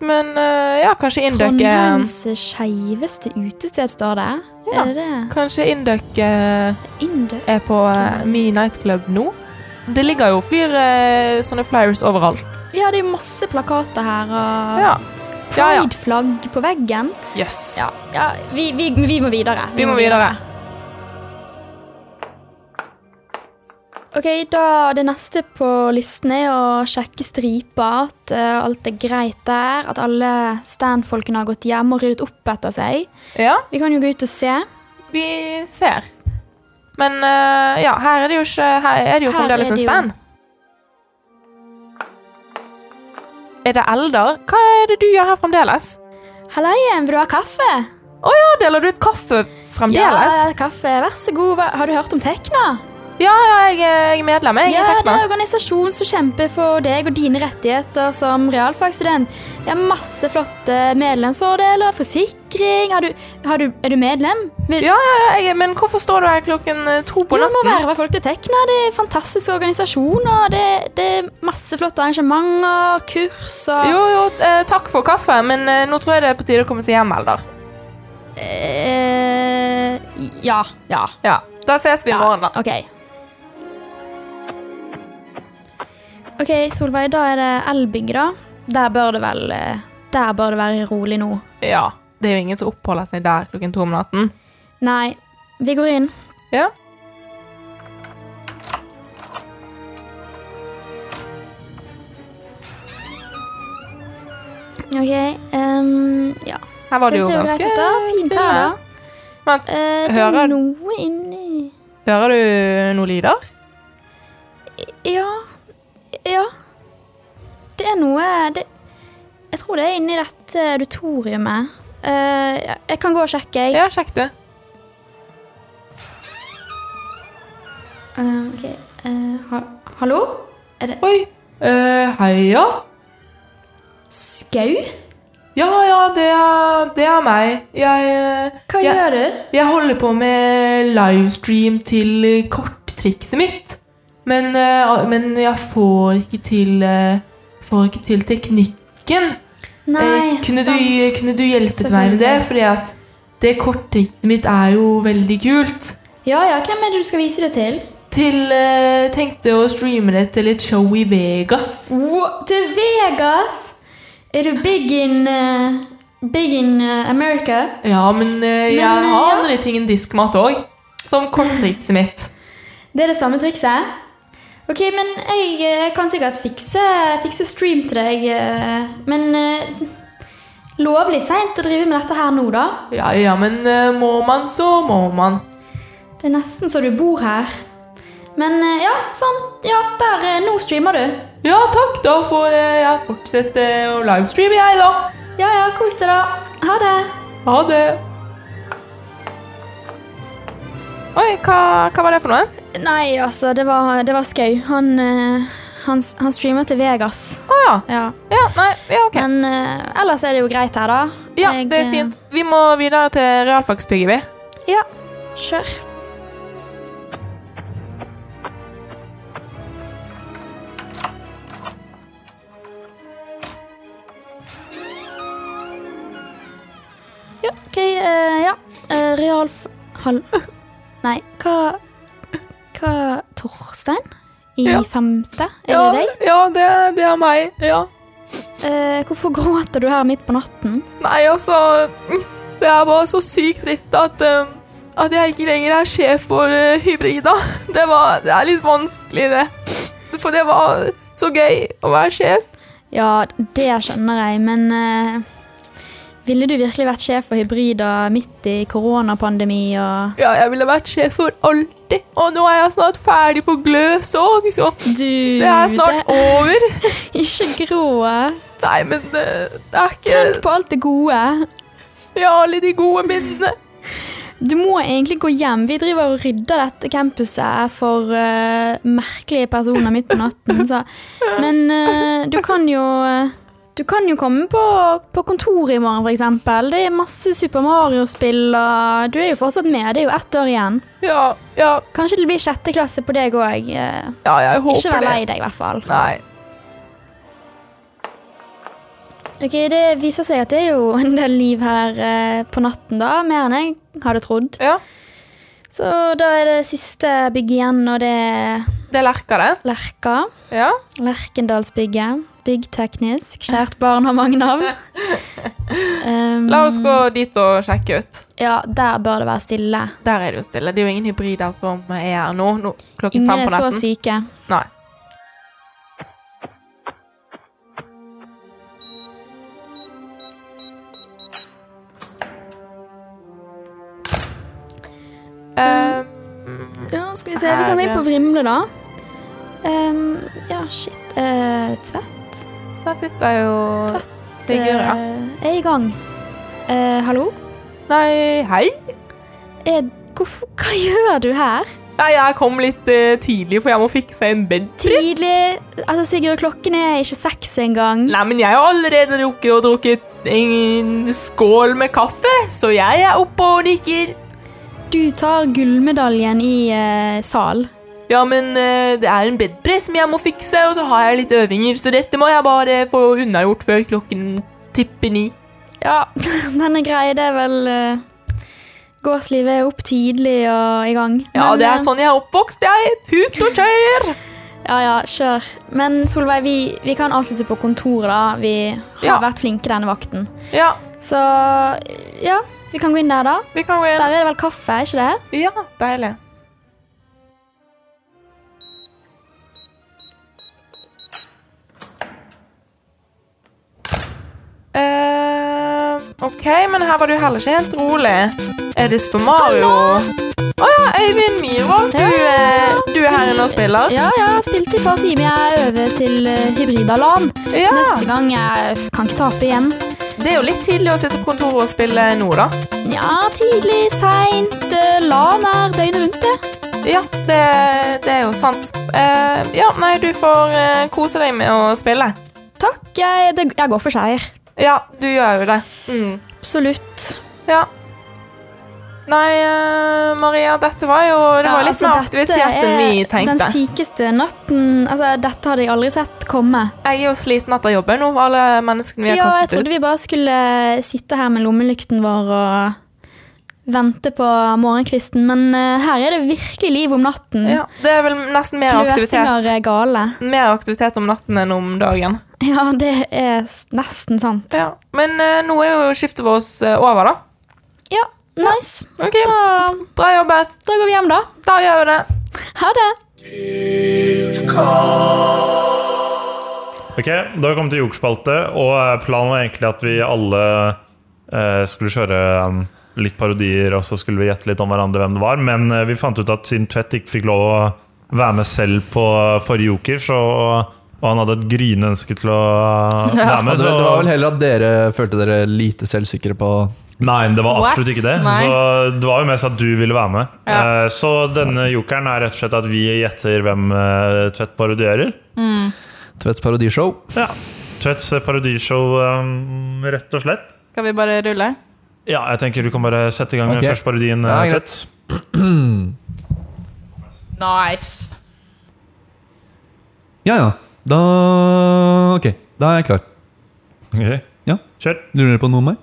[SPEAKER 6] Men eh, ja, kanskje inndøkke
[SPEAKER 5] Trondheims skeiveste utested, står det.
[SPEAKER 6] Ja.
[SPEAKER 5] Er det det?
[SPEAKER 6] Kanskje Indøk eh,
[SPEAKER 5] Indøk?
[SPEAKER 6] er på eh, Me Nightclub nå. Det ligger jo flere eh, sånne flyers overalt.
[SPEAKER 5] Ja, det er masse plakater her, og
[SPEAKER 6] Ja. Ja, ja.
[SPEAKER 5] Pride-flagg på veggen.
[SPEAKER 6] Yes.
[SPEAKER 5] Ja, ja vi, vi, vi må videre.
[SPEAKER 6] Vi må videre.
[SPEAKER 5] Ok, da Det neste på listen er å sjekke stripa, at eh, alt er greit der. At alle standfolkene har gått hjem og ryddet opp etter seg.
[SPEAKER 6] Ja,
[SPEAKER 5] Vi kan jo gå ut og se.
[SPEAKER 6] vi ser. Men eh, ja, her er det jo ikke Her er det jo
[SPEAKER 5] Her
[SPEAKER 6] fremdeles
[SPEAKER 5] er
[SPEAKER 6] en
[SPEAKER 5] det jo-
[SPEAKER 6] stand. Er det Eldar? Hva er det du gjør her fremdeles?
[SPEAKER 5] Halleien, vil du ha kaffe?
[SPEAKER 6] Å ja, deler du ut kaffe fremdeles?
[SPEAKER 5] Ja, kaffe. Vær så god. Hva- Har du hørt om Tekna?
[SPEAKER 6] Ja, ja, jeg, jeg er medlem, jeg. i
[SPEAKER 5] Ja, det
[SPEAKER 6] Tekna.
[SPEAKER 5] er en organisasjon som kjemper for deg og dine rettigheter som realfagsstudent. De har masse flotte medlemsfordeler, forsikring har du, har du, Er du medlem? Vil,
[SPEAKER 6] Ja, ja, ja, jeg, men hvorfor står du her klokken eh, to på
[SPEAKER 5] du må
[SPEAKER 6] natten?
[SPEAKER 5] verve folk til Tekna. Det er en fantastisk organisasjon, og det, det er masse flotte arrangementer, kurs og
[SPEAKER 6] Jo, jo, eh, takk for kaffe, men eh, nå tror jeg det er på tide å komme seg hjem, Eldar.
[SPEAKER 5] Eh, Ja. Ja.
[SPEAKER 6] Ja, Da ses vi i morgen, da.
[SPEAKER 5] Ok. Ok, Solveig, da er det elbygget, da. Der bør det vel eh, Der bør det være rolig nå.
[SPEAKER 6] Ja, det er jo ingen som oppholder seg der klokken to om natten.
[SPEAKER 5] Nei, vi går inn.
[SPEAKER 6] Ja.
[SPEAKER 5] Ok, ehm, ja.
[SPEAKER 6] Her var det,
[SPEAKER 5] Det
[SPEAKER 6] jo
[SPEAKER 5] ser jo greit
[SPEAKER 6] ganske
[SPEAKER 5] ut, da. Fint her, da.
[SPEAKER 6] Vent,
[SPEAKER 5] Eh, det
[SPEAKER 6] Hører-
[SPEAKER 5] er noe inni
[SPEAKER 6] hører du noen lyder?
[SPEAKER 5] Ja. Ja. Det er noe det, Jeg tror det er inni dette auditoriumet. Eh, ja, jeg kan gå og sjekke, jeg.
[SPEAKER 6] Ja, sjekk du.
[SPEAKER 5] Eh, ok. Eh, ha, hallo? Er det
[SPEAKER 6] Oi. Uh, heia.
[SPEAKER 5] Skau?
[SPEAKER 6] Ja, ja, det er, det er meg. Jeg, eh,
[SPEAKER 5] Hva
[SPEAKER 6] jeg,
[SPEAKER 5] gjør du?
[SPEAKER 6] Jeg holder på med livestream til eh, korttrikset mitt. Men, eh, al- men jeg får ikke til eh, Får ikke til teknikken. Eh,
[SPEAKER 5] Nei,
[SPEAKER 6] kunne, du,
[SPEAKER 5] sant.
[SPEAKER 6] kunne du hjulpet meg med det?
[SPEAKER 5] Selvfølgelig.
[SPEAKER 6] Fordi at det korttrikset mitt er jo veldig kult.
[SPEAKER 5] Ja, ja, hvem er det du skal vise det til?
[SPEAKER 6] Til eh, Tenkte å streame det til et show i Vegas.
[SPEAKER 5] Wha- til Vegas! Er du big in eh, Big in eh, America?
[SPEAKER 6] Ja, men eh, jeg
[SPEAKER 5] Men, eh,
[SPEAKER 6] har
[SPEAKER 5] ja.
[SPEAKER 6] andre ting enn diskmat òg. Som korttrikset mitt.
[SPEAKER 5] Det er det samme trikset? Ok, men jeg eh, kan sikkert fikse, fikse stream til deg. eh, Men eh, lovlig seint å drive med dette her nå, da.
[SPEAKER 6] Ja, ja, men eh, må man, så må man.
[SPEAKER 5] Det er nesten så du bor her. Men eh, ja, sånn. Ja, der. eh, Nå streamer du.
[SPEAKER 6] Ja, takk. Da får eh, jeg fortsette å livestreame, jeg, da.
[SPEAKER 5] Ja ja, kos deg, da. Ha det.
[SPEAKER 6] Ha det. Oi, hva, hva var det for noe?
[SPEAKER 5] Nei, altså, det var, det var Skau. Han, eh, han, s- han streamer til Vegas.
[SPEAKER 6] Å ja.
[SPEAKER 5] Ja.
[SPEAKER 6] Ja, nei, ja, ok.
[SPEAKER 5] Men eh, ellers er det jo greit her, da.
[SPEAKER 6] Ja,
[SPEAKER 5] Jeg,
[SPEAKER 6] det
[SPEAKER 5] eh,
[SPEAKER 6] er fint. Vi må videre til realfagspigget, vi.
[SPEAKER 5] Ja, kjør. Ja, ok, eh, ja. Eh, realf... Hall... (laughs) Nei, hva... Hva... Torstein? I
[SPEAKER 6] Ja.
[SPEAKER 5] femte? Er
[SPEAKER 6] Ja,
[SPEAKER 5] det deg?
[SPEAKER 6] ja det, det er meg. Ja.
[SPEAKER 5] Eh, hvorfor gråter du her midt på natten?
[SPEAKER 6] Nei, altså Det er bare så sykt trist at, eh, at jeg ikke lenger er sjef for eh, Hybrida. (laughs) Det, var, det er litt vanskelig, det. For det var så gøy å være sjef.
[SPEAKER 5] Ja, det skjønner jeg, men eh, ville du virkelig vært sjef for hybrider midt i koronapandemi og
[SPEAKER 6] Ja, jeg ville vært sjef for alltid. Og nå er jeg snart ferdig på Gløs òg, så
[SPEAKER 5] Du,
[SPEAKER 6] det er snart
[SPEAKER 5] det-
[SPEAKER 6] over.
[SPEAKER 5] Ikke grå.
[SPEAKER 6] Nei, men eh, det er
[SPEAKER 5] Tenk
[SPEAKER 6] ikke
[SPEAKER 5] på alt det gode.
[SPEAKER 6] Ja, alle de gode minnene.
[SPEAKER 5] Du må egentlig gå hjem. Vi driver og rydder dette campuset for eh, merkelige personer midt på natten. Så. Men eh, du kan jo Du kan jo komme på, på kontoret i morgen, f.eks. Det er masse Super Mario-spill, og du er jo fortsatt med. Det er jo ett år igjen.
[SPEAKER 6] Ja, ja,
[SPEAKER 5] Kanskje det blir sjette klasse på deg òg.
[SPEAKER 6] ja jeg håper
[SPEAKER 5] Ikke vær lei
[SPEAKER 6] det.
[SPEAKER 5] deg, i hvert fall.
[SPEAKER 6] Nei.
[SPEAKER 5] Ok, Det viser seg at det er jo en del liv her eh, på natten, da. Mer enn jeg hadde trodd.
[SPEAKER 6] Ja,
[SPEAKER 5] Så da er det siste bygg igjen, og det er
[SPEAKER 6] det lerker det.
[SPEAKER 5] Lerka.
[SPEAKER 6] Ja.
[SPEAKER 5] Lerkendalsbygget. Byggteknisk. Kjært barn har mange (laughs) navn. Um,
[SPEAKER 6] La oss gå dit og sjekke ut.
[SPEAKER 5] Ja, der bør det være stille.
[SPEAKER 6] Der er det jo stille. Det er jo ingen hybrider som er her nå. nå klokken
[SPEAKER 5] Ingen
[SPEAKER 6] fem
[SPEAKER 5] er
[SPEAKER 6] på
[SPEAKER 5] så
[SPEAKER 6] natten.
[SPEAKER 5] syke.
[SPEAKER 6] Nei. Eh,
[SPEAKER 5] Ja, skal vi se. Vi kan gå inn på Vrimle, da. Um, ja, shit. eh, tvett
[SPEAKER 6] der sitter jo
[SPEAKER 5] Tatt,
[SPEAKER 6] Sigurd. ja.
[SPEAKER 5] eh, er i gang. Eh, hallo?
[SPEAKER 6] Nei, hei.
[SPEAKER 5] Er, hvorfor, hva gjør du her?
[SPEAKER 6] Nei, jeg kom litt eh, tidlig, for jeg må fikse en bed.
[SPEAKER 5] Tidlig Altså, Sigurd, klokken er ikke seks engang.
[SPEAKER 6] Nei, men jeg har allerede drukket og drukket en skål med kaffe, så jeg er oppe og nikker.
[SPEAKER 5] Du tar gullmedaljen i eh, sal.
[SPEAKER 6] Ja, men eh, det er en bedpress som jeg må fikse, og så har jeg litt øvinger, så dette må jeg bare få unnagjort før klokken tipper ni.
[SPEAKER 5] (laughs) Ja, den er grei. Det er vel eh, Gårdslivet er opp tidlig og i gang.
[SPEAKER 6] Ja,
[SPEAKER 5] Men,
[SPEAKER 6] det
[SPEAKER 5] eh,
[SPEAKER 6] er sånn jeg er oppvokst, jeg. Tut og kjør!
[SPEAKER 5] Ja, ja, kjør. Men Solveig, vi, vi kan avslutte på kontoret, da. Vi har
[SPEAKER 6] Ja.
[SPEAKER 5] vært flinke denne vakten.
[SPEAKER 6] Ja,
[SPEAKER 5] Så ja, vi kan gå inn der, da.
[SPEAKER 6] vi kan gå
[SPEAKER 5] Der er det vel kaffe, er ikke det?
[SPEAKER 6] Ja, deilig. Eh, ok, men her var du heller ikke helt rolig. Er det Super Mario? Å ja, Øyvind Myhrvold. Du, eh, du er her inne og spiller?
[SPEAKER 5] Ja, ja, jeg har spilt i et par timer. Jeg øver til eh, hybridalarm.
[SPEAKER 6] Ja.
[SPEAKER 5] Neste gang jeg f- kan ikke tape igjen.
[SPEAKER 6] Det er jo litt tidlig å sitte på kontoret og spille nå, da.
[SPEAKER 5] Ja, tidlig, seint, eh, LAN er døgnet rundt, det.
[SPEAKER 6] Ja, det, det er jo sant. Eh, ja, nei, du får eh, kose deg med å spille.
[SPEAKER 5] Takk. jeg, det, jeg går for seier.
[SPEAKER 6] Ja, du gjør jo det. Mm.
[SPEAKER 5] Absolutt.
[SPEAKER 6] Ja. Nei, eh, Maria, dette var jo Det var
[SPEAKER 5] Ja,
[SPEAKER 6] litt
[SPEAKER 5] altså,
[SPEAKER 6] mer
[SPEAKER 5] dette
[SPEAKER 6] aktivitet enn
[SPEAKER 5] er
[SPEAKER 6] vi tenkte.
[SPEAKER 5] Den sykeste natten altså, Dette hadde jeg aldri sett komme.
[SPEAKER 6] Jeg er jo sliten etter jobben nå, alle menneskene vi
[SPEAKER 5] Ja,
[SPEAKER 6] har
[SPEAKER 5] jeg
[SPEAKER 6] kastet
[SPEAKER 5] trodde
[SPEAKER 6] ut.
[SPEAKER 5] vi bare skulle eh, sitte her med lommelykten vår og vente på morgenkvisten, men eh, her er det virkelig liv om natten.
[SPEAKER 6] Ja, det er vel nesten mer
[SPEAKER 5] Kløsinger
[SPEAKER 6] aktivitet.
[SPEAKER 5] er eh, gale.
[SPEAKER 6] Mer aktivitet om natten enn om dagen.
[SPEAKER 5] Ja, det er s- nesten sant.
[SPEAKER 6] Ja. Men eh, nå er jo skiftet vårt eh, over, da.
[SPEAKER 5] Ja, nice.
[SPEAKER 6] Ok,
[SPEAKER 5] Da,
[SPEAKER 6] Bra jobbet.
[SPEAKER 5] da går vi hjem, da.
[SPEAKER 6] Da gjør vi det.
[SPEAKER 5] Ha det.
[SPEAKER 3] Ok, Da har vi kommet til jokspalte, og eh, planen var egentlig at vi alle eh, skulle kjøre um, litt parodier, og så skulle vi gjette litt om hverandre hvem det var. Men eh, vi fant ut at siden Tvedt ikke fikk lov å være med selv på eh, forrige joker, så, og han hadde et gryende ønske til å eh, være med,
[SPEAKER 2] det,
[SPEAKER 3] så
[SPEAKER 2] det var vel heller at dere følte dere lite selvsikre på
[SPEAKER 3] Nei, det var absolutt
[SPEAKER 1] What?
[SPEAKER 3] ikke det.
[SPEAKER 1] Nei.
[SPEAKER 3] Så det var jo mest at du ville være med.
[SPEAKER 1] Ja.
[SPEAKER 3] Eh, Så denne jokeren er rett og slett at vi gjetter hvem eh, Tvedt parodierer.
[SPEAKER 2] Tvedts parodishow.
[SPEAKER 3] Ja. Tvedts parodishow, eh, rett og slett.
[SPEAKER 1] Skal vi bare rulle?
[SPEAKER 3] Ja, jeg tenker du kan bare sette i gang
[SPEAKER 2] Ok.
[SPEAKER 3] med første parodien.
[SPEAKER 2] Ja,
[SPEAKER 3] eh,
[SPEAKER 2] greit.
[SPEAKER 3] Tvedt.
[SPEAKER 1] Nice.
[SPEAKER 2] Ja, ja. Da Ok, da er jeg klar.
[SPEAKER 3] Ok,
[SPEAKER 2] Ja.
[SPEAKER 3] Kjør.
[SPEAKER 2] Lurer dere på noe om meg?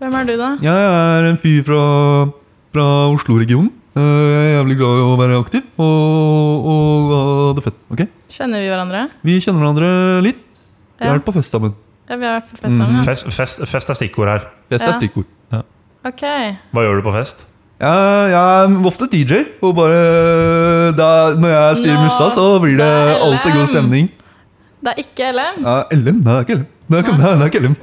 [SPEAKER 1] Hvem er du, da?
[SPEAKER 2] Ja, jeg er en fyr fra, fra Oslo-regionen. Eh, Jeg er jævlig glad i å være aktiv og, og ha det fett. ok?
[SPEAKER 1] Kjenner vi hverandre?
[SPEAKER 2] Vi kjenner hverandre litt. Vi
[SPEAKER 1] Ja.
[SPEAKER 2] har vært på fest sammen.
[SPEAKER 1] Ja, vi har vært på fest sammen. ja.
[SPEAKER 3] Fest, fest, fest er stikkord her.
[SPEAKER 2] Fest
[SPEAKER 1] Ja.
[SPEAKER 2] er stikkord.
[SPEAKER 1] Ok.
[SPEAKER 3] Hva gjør du på fest?
[SPEAKER 2] Ja, jeg er ofte DJ, og bare da, Når jeg styrer
[SPEAKER 1] Nå,
[SPEAKER 2] mussa, så blir det
[SPEAKER 1] det er
[SPEAKER 2] alltid
[SPEAKER 1] LM.
[SPEAKER 2] god stemning.
[SPEAKER 1] Det er ikke LM.
[SPEAKER 2] Ja, LM? Nei, det er ikke LM. Det er ikke, nei, det er ikke LM.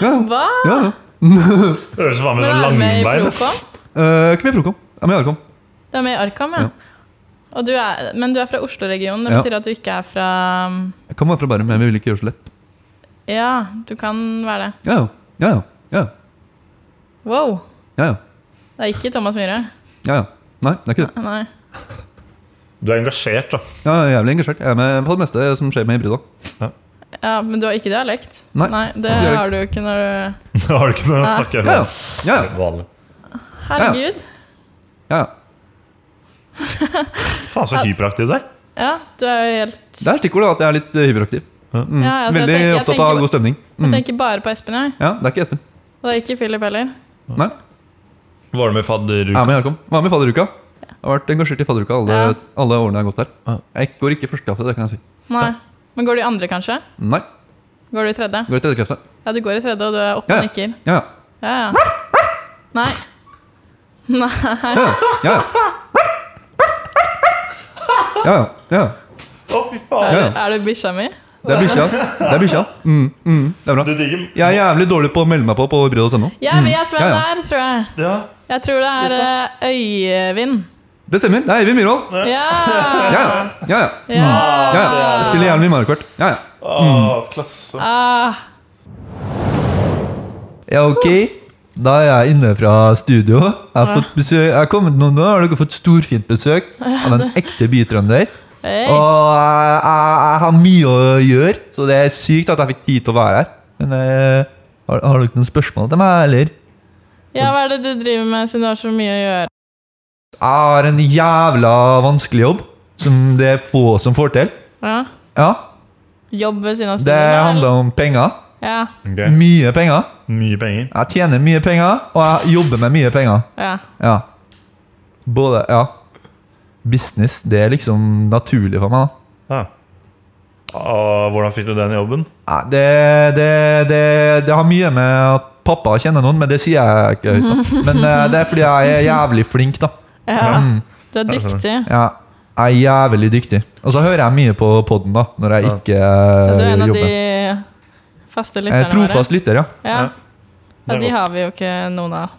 [SPEAKER 2] ja,
[SPEAKER 1] Hva?
[SPEAKER 2] ja, ja.
[SPEAKER 3] Det Høres faen meg
[SPEAKER 1] Men
[SPEAKER 3] som
[SPEAKER 1] er du med i
[SPEAKER 3] langbein.
[SPEAKER 1] Procom?
[SPEAKER 2] Eh, ikke med Prokom. Ja, med Arkom.
[SPEAKER 1] Du er med i Arkam, ja.
[SPEAKER 2] Ja.
[SPEAKER 1] Og du er, men du er fra Oslo-regionen. Det
[SPEAKER 2] Ja.
[SPEAKER 1] betyr at du ikke er fra
[SPEAKER 2] Jeg kan være fra Bærum, men vi vil ikke gjøre så lett.
[SPEAKER 1] Ja, du kan være det.
[SPEAKER 2] Ja, ja, ja. Ja, ja.
[SPEAKER 1] Wow.
[SPEAKER 2] ja, ja.
[SPEAKER 1] Det er ikke Thomas Myhre.
[SPEAKER 2] Ja, ja. Nei, det er ikke det.
[SPEAKER 1] Nei.
[SPEAKER 3] Du er engasjert, da. (laughs)
[SPEAKER 2] Jeg er jævlig engasjert. Jeg er med på det meste som skjer med hybrida.
[SPEAKER 1] Ja, men du har ikke dialekt?
[SPEAKER 2] Nei.
[SPEAKER 1] det
[SPEAKER 2] Ikke dialekt.
[SPEAKER 1] har du jo ikke når du
[SPEAKER 3] Da har du ikke noe
[SPEAKER 1] Ah.
[SPEAKER 3] å snakke
[SPEAKER 2] Ja, ja.
[SPEAKER 3] om.
[SPEAKER 2] Ja,
[SPEAKER 3] Vanlig.
[SPEAKER 1] Herregud.
[SPEAKER 2] ja.
[SPEAKER 3] Faen, så hyperaktiv du er.
[SPEAKER 1] Ja, du er jo helt
[SPEAKER 2] Det er stikkordet at jeg er litt hyperaktiv. Mm.
[SPEAKER 1] Ja, altså, jeg
[SPEAKER 2] Veldig
[SPEAKER 1] tenker- jeg
[SPEAKER 2] opptatt av
[SPEAKER 1] tenker-
[SPEAKER 2] god stemning.
[SPEAKER 1] Jeg
[SPEAKER 2] Mm.
[SPEAKER 1] tenker bare på Espen, jeg.
[SPEAKER 2] Ja, det er ikke Espen.
[SPEAKER 1] Og det er ikke Philip heller.
[SPEAKER 2] Nei.
[SPEAKER 3] Var du med fadder?
[SPEAKER 2] Jeg er med i Arkom. Hva med fadderuka? Jeg har vært engasjert i fadderuka alle,
[SPEAKER 1] Ja.
[SPEAKER 2] alle årene jeg har gått der. Jeg går ikke i første klasse, det kan jeg si.
[SPEAKER 1] Nei. Men går du i andre, kanskje?
[SPEAKER 2] Nei,
[SPEAKER 1] Går du i tredje?
[SPEAKER 2] går i tredje klasse.
[SPEAKER 1] Ja, du går i tredje, og du er oppe
[SPEAKER 2] Ja,
[SPEAKER 1] og
[SPEAKER 2] ja.
[SPEAKER 1] nikker.
[SPEAKER 2] Ja,
[SPEAKER 1] Ja, ja. Nei. (laughs) Nei.
[SPEAKER 2] ja. Ja, ja. Ja, ja.
[SPEAKER 3] Å, fy faen.
[SPEAKER 2] Ja, ja.
[SPEAKER 1] Er det bikkja mi?
[SPEAKER 2] Det er bikkja. Det er bikkja. Mm, mm, det er bra.
[SPEAKER 3] Du digger
[SPEAKER 2] Jeg er jævlig dårlig på å melde meg på på hybrid.no.
[SPEAKER 1] Jeg vet hvem
[SPEAKER 2] Mm. Ja,
[SPEAKER 1] det
[SPEAKER 2] ja.
[SPEAKER 1] er, tror jeg.
[SPEAKER 3] Ja.
[SPEAKER 1] Jeg tror det er eh, Øyvind.
[SPEAKER 2] Det stemmer. Det er Eivind
[SPEAKER 1] Ja!
[SPEAKER 2] Myhrvold. Ja, ja. ja, (laughs) ja.
[SPEAKER 1] ja.
[SPEAKER 2] Ja, ja. Jeg spiller gjerne mye Mario Kart. Ja, ja. Mm.
[SPEAKER 3] Å, Ah, klasse.
[SPEAKER 1] Ah,
[SPEAKER 2] Ja, ok. Da er jeg inne fra studio. Jeg har fått besøk. Jeg har kommet nå, nå har dere fått storfint besøk av en ekte bytrønder.
[SPEAKER 1] hei.
[SPEAKER 2] Og jeg, jeg, jeg har mye å gjøre, så det er sykt at jeg fikk tid til å være her. Men eh, har, har dere noen spørsmål til meg, eller?
[SPEAKER 1] ja, hva er det du driver med siden du har så mye å gjøre?
[SPEAKER 2] Jeg har en jævla vanskelig jobb, som det er få som får til.
[SPEAKER 1] Ja.
[SPEAKER 2] Ja,
[SPEAKER 1] Jobb ved siden av
[SPEAKER 2] Det
[SPEAKER 1] eller?
[SPEAKER 2] handler om penger.
[SPEAKER 1] Ja,
[SPEAKER 3] Ok.
[SPEAKER 2] Mye penger.
[SPEAKER 3] Mye penger.
[SPEAKER 2] Jeg tjener mye penger, og jeg jobber med mye penger.
[SPEAKER 1] ja.
[SPEAKER 2] Ja. Både Ja. Business, det er liksom naturlig for meg. da.
[SPEAKER 3] Ja. Og hvordan fikk du den jobben? (laughs)
[SPEAKER 2] Nei, det, det, det, det har mye med at pappa kjenner noen, men det sier jeg ikke høyt.
[SPEAKER 1] (laughs)
[SPEAKER 2] da. Men eh, det er fordi jeg er jævlig flink, da.
[SPEAKER 1] ja.
[SPEAKER 3] Mm.
[SPEAKER 1] Du er dyktig.
[SPEAKER 2] Ja, jeg er jævlig dyktig. Og så hører jeg mye på poden da, når jeg ikke
[SPEAKER 1] Du
[SPEAKER 2] eh,
[SPEAKER 1] er en av de
[SPEAKER 2] jobber.
[SPEAKER 1] faste
[SPEAKER 2] Jeg er
[SPEAKER 1] lytterne
[SPEAKER 2] trofast lytter, ja.
[SPEAKER 1] Ja. ja,
[SPEAKER 3] Det er
[SPEAKER 1] de
[SPEAKER 3] godt.
[SPEAKER 1] har vi jo ikke noen av.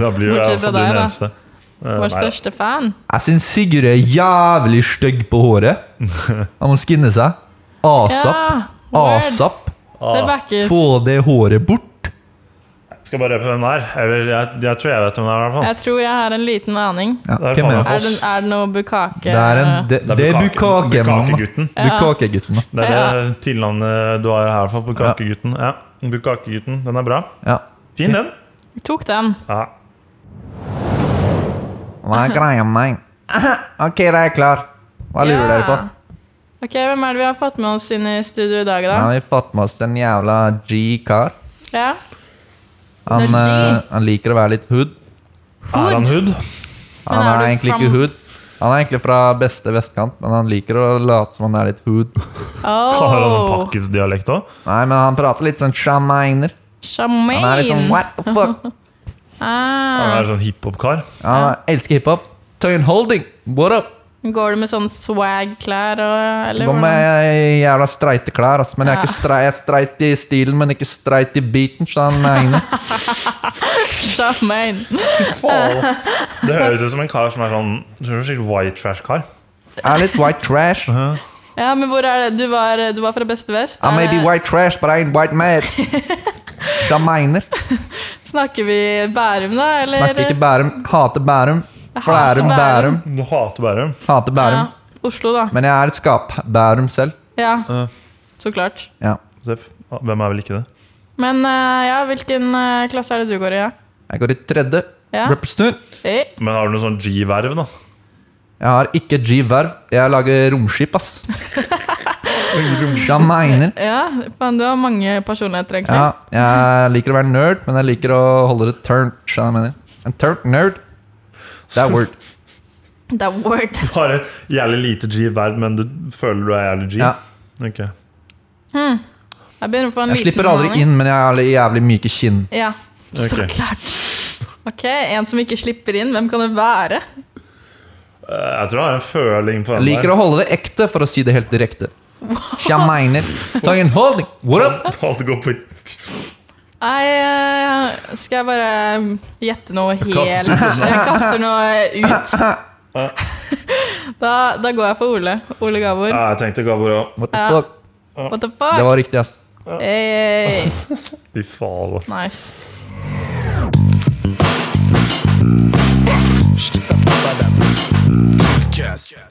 [SPEAKER 3] da blir jo jeg
[SPEAKER 1] Bortsett fra
[SPEAKER 3] for
[SPEAKER 1] deg,
[SPEAKER 3] du den
[SPEAKER 1] da.
[SPEAKER 3] eneste. Eh,
[SPEAKER 1] Vår
[SPEAKER 3] nei.
[SPEAKER 1] største fan.
[SPEAKER 2] Jeg syns Sigurd er jævlig stygg på
[SPEAKER 3] (laughs)
[SPEAKER 2] håret. Han må skinne seg.
[SPEAKER 1] Ja,
[SPEAKER 2] Asap.
[SPEAKER 1] word.
[SPEAKER 2] Asap.
[SPEAKER 1] Det backes.
[SPEAKER 2] Få det håret bort.
[SPEAKER 3] Skal bare røpe hvem det er. Eller jeg, jeg tror jeg vet hvem det er. i hvert fall.
[SPEAKER 1] Jeg tror jeg har en liten aning.
[SPEAKER 2] Ja,
[SPEAKER 3] Det er
[SPEAKER 2] hvem er det?
[SPEAKER 3] faen meg
[SPEAKER 1] Er det, er det noe bukake
[SPEAKER 2] Det er en Det,
[SPEAKER 3] Det er
[SPEAKER 2] det er
[SPEAKER 3] Bukake-
[SPEAKER 2] Bukake-mannen.
[SPEAKER 3] Bukakegutten.
[SPEAKER 2] Bukakegutten, da.
[SPEAKER 3] Det er det tilnavnet du har her, i hvert fall. Bukakegutten. Ja. Bukakegutten. Den er bra.
[SPEAKER 2] Ja.
[SPEAKER 3] Fin, den.
[SPEAKER 1] Tok den.
[SPEAKER 3] Ja.
[SPEAKER 2] Hva er greia med (laughs) Ok, da er jeg klar. Hva lurer
[SPEAKER 1] Ja.
[SPEAKER 2] dere på?
[SPEAKER 1] Ok, Hvem er det vi har fått med oss inn i studio i dag,
[SPEAKER 2] Nå
[SPEAKER 1] da?
[SPEAKER 2] har vi fått med oss en jævla G-kar.
[SPEAKER 1] Ja.
[SPEAKER 2] (laughs) Han,
[SPEAKER 1] Det er G.
[SPEAKER 2] eh, han liker å være litt hood.
[SPEAKER 3] Er han hood? (laughs)
[SPEAKER 2] Han
[SPEAKER 1] Men er
[SPEAKER 2] er,
[SPEAKER 1] du
[SPEAKER 2] egentlig
[SPEAKER 1] from-
[SPEAKER 2] ikke hood. Han er egentlig fra beste vestkant, men han liker å late som han er litt hood.
[SPEAKER 3] Har han sånn
[SPEAKER 1] Oh,
[SPEAKER 3] pakkisdialekt òg?
[SPEAKER 2] Nei, men han prater litt sånn shamainer. Han er litt
[SPEAKER 1] Shamaine.
[SPEAKER 2] sånn what the
[SPEAKER 1] (laughs)
[SPEAKER 2] fuck.
[SPEAKER 3] Han
[SPEAKER 1] Ah.
[SPEAKER 3] er sånn hiphop-kar?
[SPEAKER 2] Han elsker hiphop. Tøyen Holding, what up?
[SPEAKER 1] Går du med sånn swag-klær og eller
[SPEAKER 2] Går
[SPEAKER 1] hvordan?
[SPEAKER 2] med jævla streite klær, ass. Men jeg er, ikke
[SPEAKER 1] Ja.
[SPEAKER 2] strei, jeg er streit i stilen, men ikke streit i beaten, sa han
[SPEAKER 1] (laughs)
[SPEAKER 2] Magne.
[SPEAKER 1] Shamaine.
[SPEAKER 3] Det høres ut som en kar som er sånn jeg tror det er skikkelig white trash-kar.
[SPEAKER 2] I'm litt white trash. I
[SPEAKER 1] Ja, men hvor er det? Du var, du var fra Beste Vest.
[SPEAKER 2] may be
[SPEAKER 1] Er-
[SPEAKER 2] white trash, but I ain't white mad.
[SPEAKER 1] (laughs)
[SPEAKER 2] Sa Magne.
[SPEAKER 1] Snakker vi Bærum, da? Eller?
[SPEAKER 2] Snakker ikke Bærum. Hater Bærum.
[SPEAKER 1] Jeg hater
[SPEAKER 2] Flærum, Bærum.
[SPEAKER 1] Bærum.
[SPEAKER 3] Du hater Bærum.
[SPEAKER 2] Hater Bærum.
[SPEAKER 1] Ja, Oslo, da.
[SPEAKER 2] Men jeg er et skap-Bærum selv.
[SPEAKER 1] Ja,
[SPEAKER 3] Ja.
[SPEAKER 1] så klart.
[SPEAKER 2] Ja.
[SPEAKER 3] Seff. Hvem er vel ikke det?
[SPEAKER 1] Men eh, ja, hvilken eh, klasse er det du går i? Ja?
[SPEAKER 2] Jeg går i tredje.
[SPEAKER 1] Ja.
[SPEAKER 2] Represent.
[SPEAKER 1] Hey.
[SPEAKER 3] Men har du noe sånn G-verv, da?
[SPEAKER 2] Jeg har ikke G-verv. Jeg lager romskip,
[SPEAKER 1] (laughs)
[SPEAKER 2] ass. Shamainer.
[SPEAKER 1] Ja, faen, du har mange personligheter, egentlig.
[SPEAKER 2] Ja, jeg liker å være nerd, men jeg liker å holde det turnt. skjønner du hva jeg mener. En turnt nerd. Det er word.
[SPEAKER 1] Det er word.
[SPEAKER 3] Du har et jævlig lite G-verv, men du føler du er jævlig G?
[SPEAKER 2] Ja.
[SPEAKER 3] Ok.
[SPEAKER 1] Hmm. Jeg begynner å få en
[SPEAKER 2] Jeg
[SPEAKER 1] liten
[SPEAKER 2] slipper aldri
[SPEAKER 1] aning.
[SPEAKER 2] inn, men jeg har alle jævlig myke kinn.
[SPEAKER 1] Ja, så
[SPEAKER 3] Ok.
[SPEAKER 1] klart. Ok, en som ikke slipper inn. Hvem kan det være?
[SPEAKER 3] Eh, Jeg tror jeg har en føling på
[SPEAKER 2] Jeg
[SPEAKER 3] den
[SPEAKER 2] liker å holde det ekte, for å si det helt direkte. Shamainer. Ta en holding. What up?
[SPEAKER 3] (laughs) Alt går på
[SPEAKER 1] Nei, eh, skal jeg bare gjette noe helt
[SPEAKER 3] kaster
[SPEAKER 1] Jeg (laughs) kaster noe ut. (laughs) Da, da går jeg for Ole. Ole Gabor.
[SPEAKER 3] Ja, jeg tenkte Gabor òg.
[SPEAKER 2] What the fuck?
[SPEAKER 1] What the
[SPEAKER 2] Det
[SPEAKER 1] fuck?
[SPEAKER 2] var riktig, ass.
[SPEAKER 1] Hey, hey, hey.
[SPEAKER 3] Fy faen, altså.
[SPEAKER 1] Nice.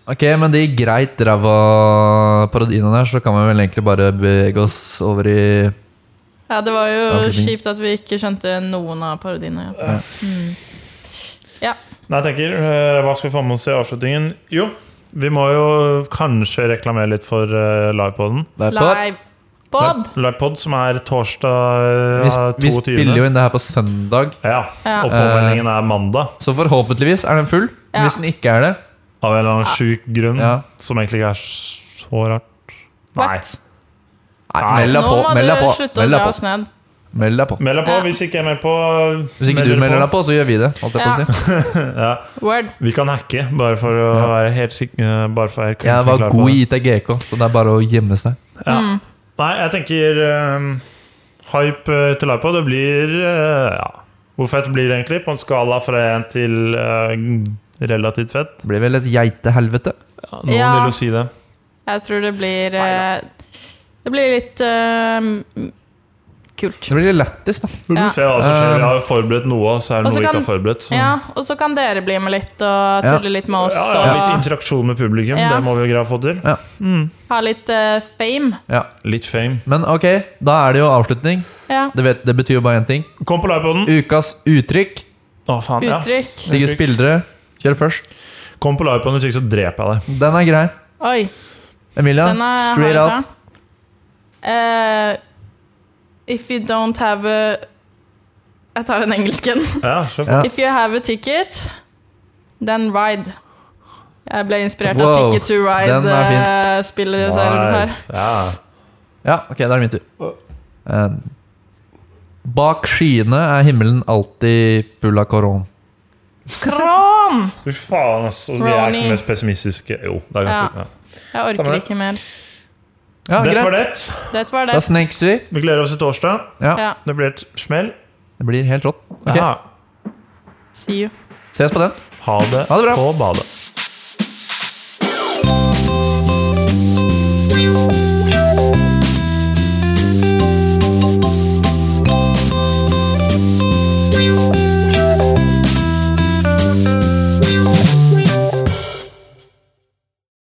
[SPEAKER 2] Ok, men det gikk greit, ræva parodiene der, så kan vi vel egentlig bare bevege oss over i
[SPEAKER 1] Ja, det var jo
[SPEAKER 2] Avslutning.
[SPEAKER 1] kjipt at vi ikke skjønte noen av parodiene. Ja. Mm. ja.
[SPEAKER 3] Nei, jeg tenker, eh, Hva skal vi få med oss i avslutningen? Jo, vi må jo kanskje reklamere litt for eh, livepoden.
[SPEAKER 2] Live.
[SPEAKER 1] Live. Bob!
[SPEAKER 3] Livepod som er torsdag
[SPEAKER 2] Vi,
[SPEAKER 3] eh,
[SPEAKER 2] sp- vi
[SPEAKER 3] 22.
[SPEAKER 2] spiller jo inn det her på søndag,
[SPEAKER 3] Ja,
[SPEAKER 1] Ja.
[SPEAKER 3] Og påmeldingen er mandag,
[SPEAKER 2] så forhåpentligvis er den full.
[SPEAKER 1] Ja.
[SPEAKER 2] Hvis den ikke er det,
[SPEAKER 3] av en eller annen sjuk grunn.
[SPEAKER 2] Ja.
[SPEAKER 3] Som egentlig ikke er så rart. Nei.
[SPEAKER 1] What?
[SPEAKER 2] nei,
[SPEAKER 3] Nei.
[SPEAKER 2] meld
[SPEAKER 1] Nå
[SPEAKER 2] deg på.
[SPEAKER 1] må
[SPEAKER 2] Meld
[SPEAKER 1] du
[SPEAKER 2] deg på.
[SPEAKER 1] slutte å
[SPEAKER 2] Meld
[SPEAKER 1] dra
[SPEAKER 2] deg
[SPEAKER 1] oss
[SPEAKER 2] på.
[SPEAKER 1] ned.
[SPEAKER 2] Meld deg på.
[SPEAKER 3] Meld deg på
[SPEAKER 1] Ja.
[SPEAKER 3] hvis ikke jeg er med på.
[SPEAKER 2] Hvis ikke du melder deg på, så gjør vi det. Holdt jeg,
[SPEAKER 1] Ja.
[SPEAKER 2] på å (laughs) si.
[SPEAKER 1] Word.
[SPEAKER 3] Vi kan hacke, bare for å være helt sikker. Bare for å være
[SPEAKER 2] jeg var
[SPEAKER 3] klar på
[SPEAKER 2] god
[SPEAKER 3] det.
[SPEAKER 2] i ITGK, så det er bare å gjemme seg.
[SPEAKER 3] Ja.
[SPEAKER 1] Mm.
[SPEAKER 3] Nei, jeg tenker ehm, Hype eh, til Livepodd, det blir eh, ja. Hvor fett blir det egentlig? På en skala fra 1 til eh, relativt fett?
[SPEAKER 2] Det blir vel et geitehelvete.
[SPEAKER 3] Ja, noen
[SPEAKER 1] Ja.
[SPEAKER 3] vil jo si det.
[SPEAKER 1] Jeg tror det blir eh, Det blir litt eh, m- kult.
[SPEAKER 2] Det blir litt lættis, da.
[SPEAKER 3] Vi
[SPEAKER 1] Ja.
[SPEAKER 3] får se hva som skjer. Vi har jo forberedt noe, så er det
[SPEAKER 1] Og så
[SPEAKER 3] noe vi
[SPEAKER 1] kan-
[SPEAKER 3] ikke har forberedt.
[SPEAKER 2] Sånn.
[SPEAKER 3] Så.
[SPEAKER 1] Ja, og så kan dere bli med litt og tulle litt med oss
[SPEAKER 3] Ja, ja, litt
[SPEAKER 1] og
[SPEAKER 3] interaksjon med publikum,
[SPEAKER 1] Ja.
[SPEAKER 3] det må vi jo greie å få til.
[SPEAKER 1] ha litt eh, fame.
[SPEAKER 2] Ja.
[SPEAKER 3] Litt fame.
[SPEAKER 2] Men ok, da er det jo avslutning.
[SPEAKER 1] Ja.
[SPEAKER 2] Det, vet, det betyr jo bare én ting.
[SPEAKER 3] Kom på livepoden!
[SPEAKER 2] Ukas uttrykk.
[SPEAKER 3] Å, faen, ja.
[SPEAKER 1] Uttrykk.
[SPEAKER 2] Sigurd Spildre, kjør først.
[SPEAKER 3] Kom på livepoden, hvis ikke så dreper jeg deg.
[SPEAKER 2] Den er grei.
[SPEAKER 1] Oi,
[SPEAKER 2] Emilia,
[SPEAKER 1] den er hard
[SPEAKER 2] straight
[SPEAKER 1] å ta.
[SPEAKER 2] off.
[SPEAKER 1] Eh, if you don't have a Jeg tar den engelsken.
[SPEAKER 3] Ja, så.
[SPEAKER 2] Ja.
[SPEAKER 1] If you have a ticket, then ride. Jeg ble inspirert av
[SPEAKER 2] Wow,
[SPEAKER 1] Ticket to eh,
[SPEAKER 2] den er fin.
[SPEAKER 1] Ride-spillet her.
[SPEAKER 3] Nice. Ja.
[SPEAKER 2] Ja, ok, da er det min tur. Eh, bak skyene er himmelen alltid full av koron.
[SPEAKER 1] Kran!
[SPEAKER 3] Fy faen, altså. Vi er ikke
[SPEAKER 1] Ronny.
[SPEAKER 3] de mest pessimistiske Jo, det er ganske
[SPEAKER 1] Ja.
[SPEAKER 3] ja.
[SPEAKER 1] Jeg orker
[SPEAKER 3] Samme det.
[SPEAKER 1] ikke mer.
[SPEAKER 2] Ja,
[SPEAKER 3] Dette var
[SPEAKER 2] greit.
[SPEAKER 3] det.
[SPEAKER 1] Det var det.
[SPEAKER 2] Da snakes vi.
[SPEAKER 3] Vi gleder oss til torsdag.
[SPEAKER 2] Ja,
[SPEAKER 1] Ja.
[SPEAKER 3] Det blir et smell.
[SPEAKER 2] det blir helt rått. Ok,
[SPEAKER 3] Ja.
[SPEAKER 1] See you.
[SPEAKER 2] Ses på den.
[SPEAKER 3] Ha det,
[SPEAKER 2] Ha det bra.
[SPEAKER 3] på badet.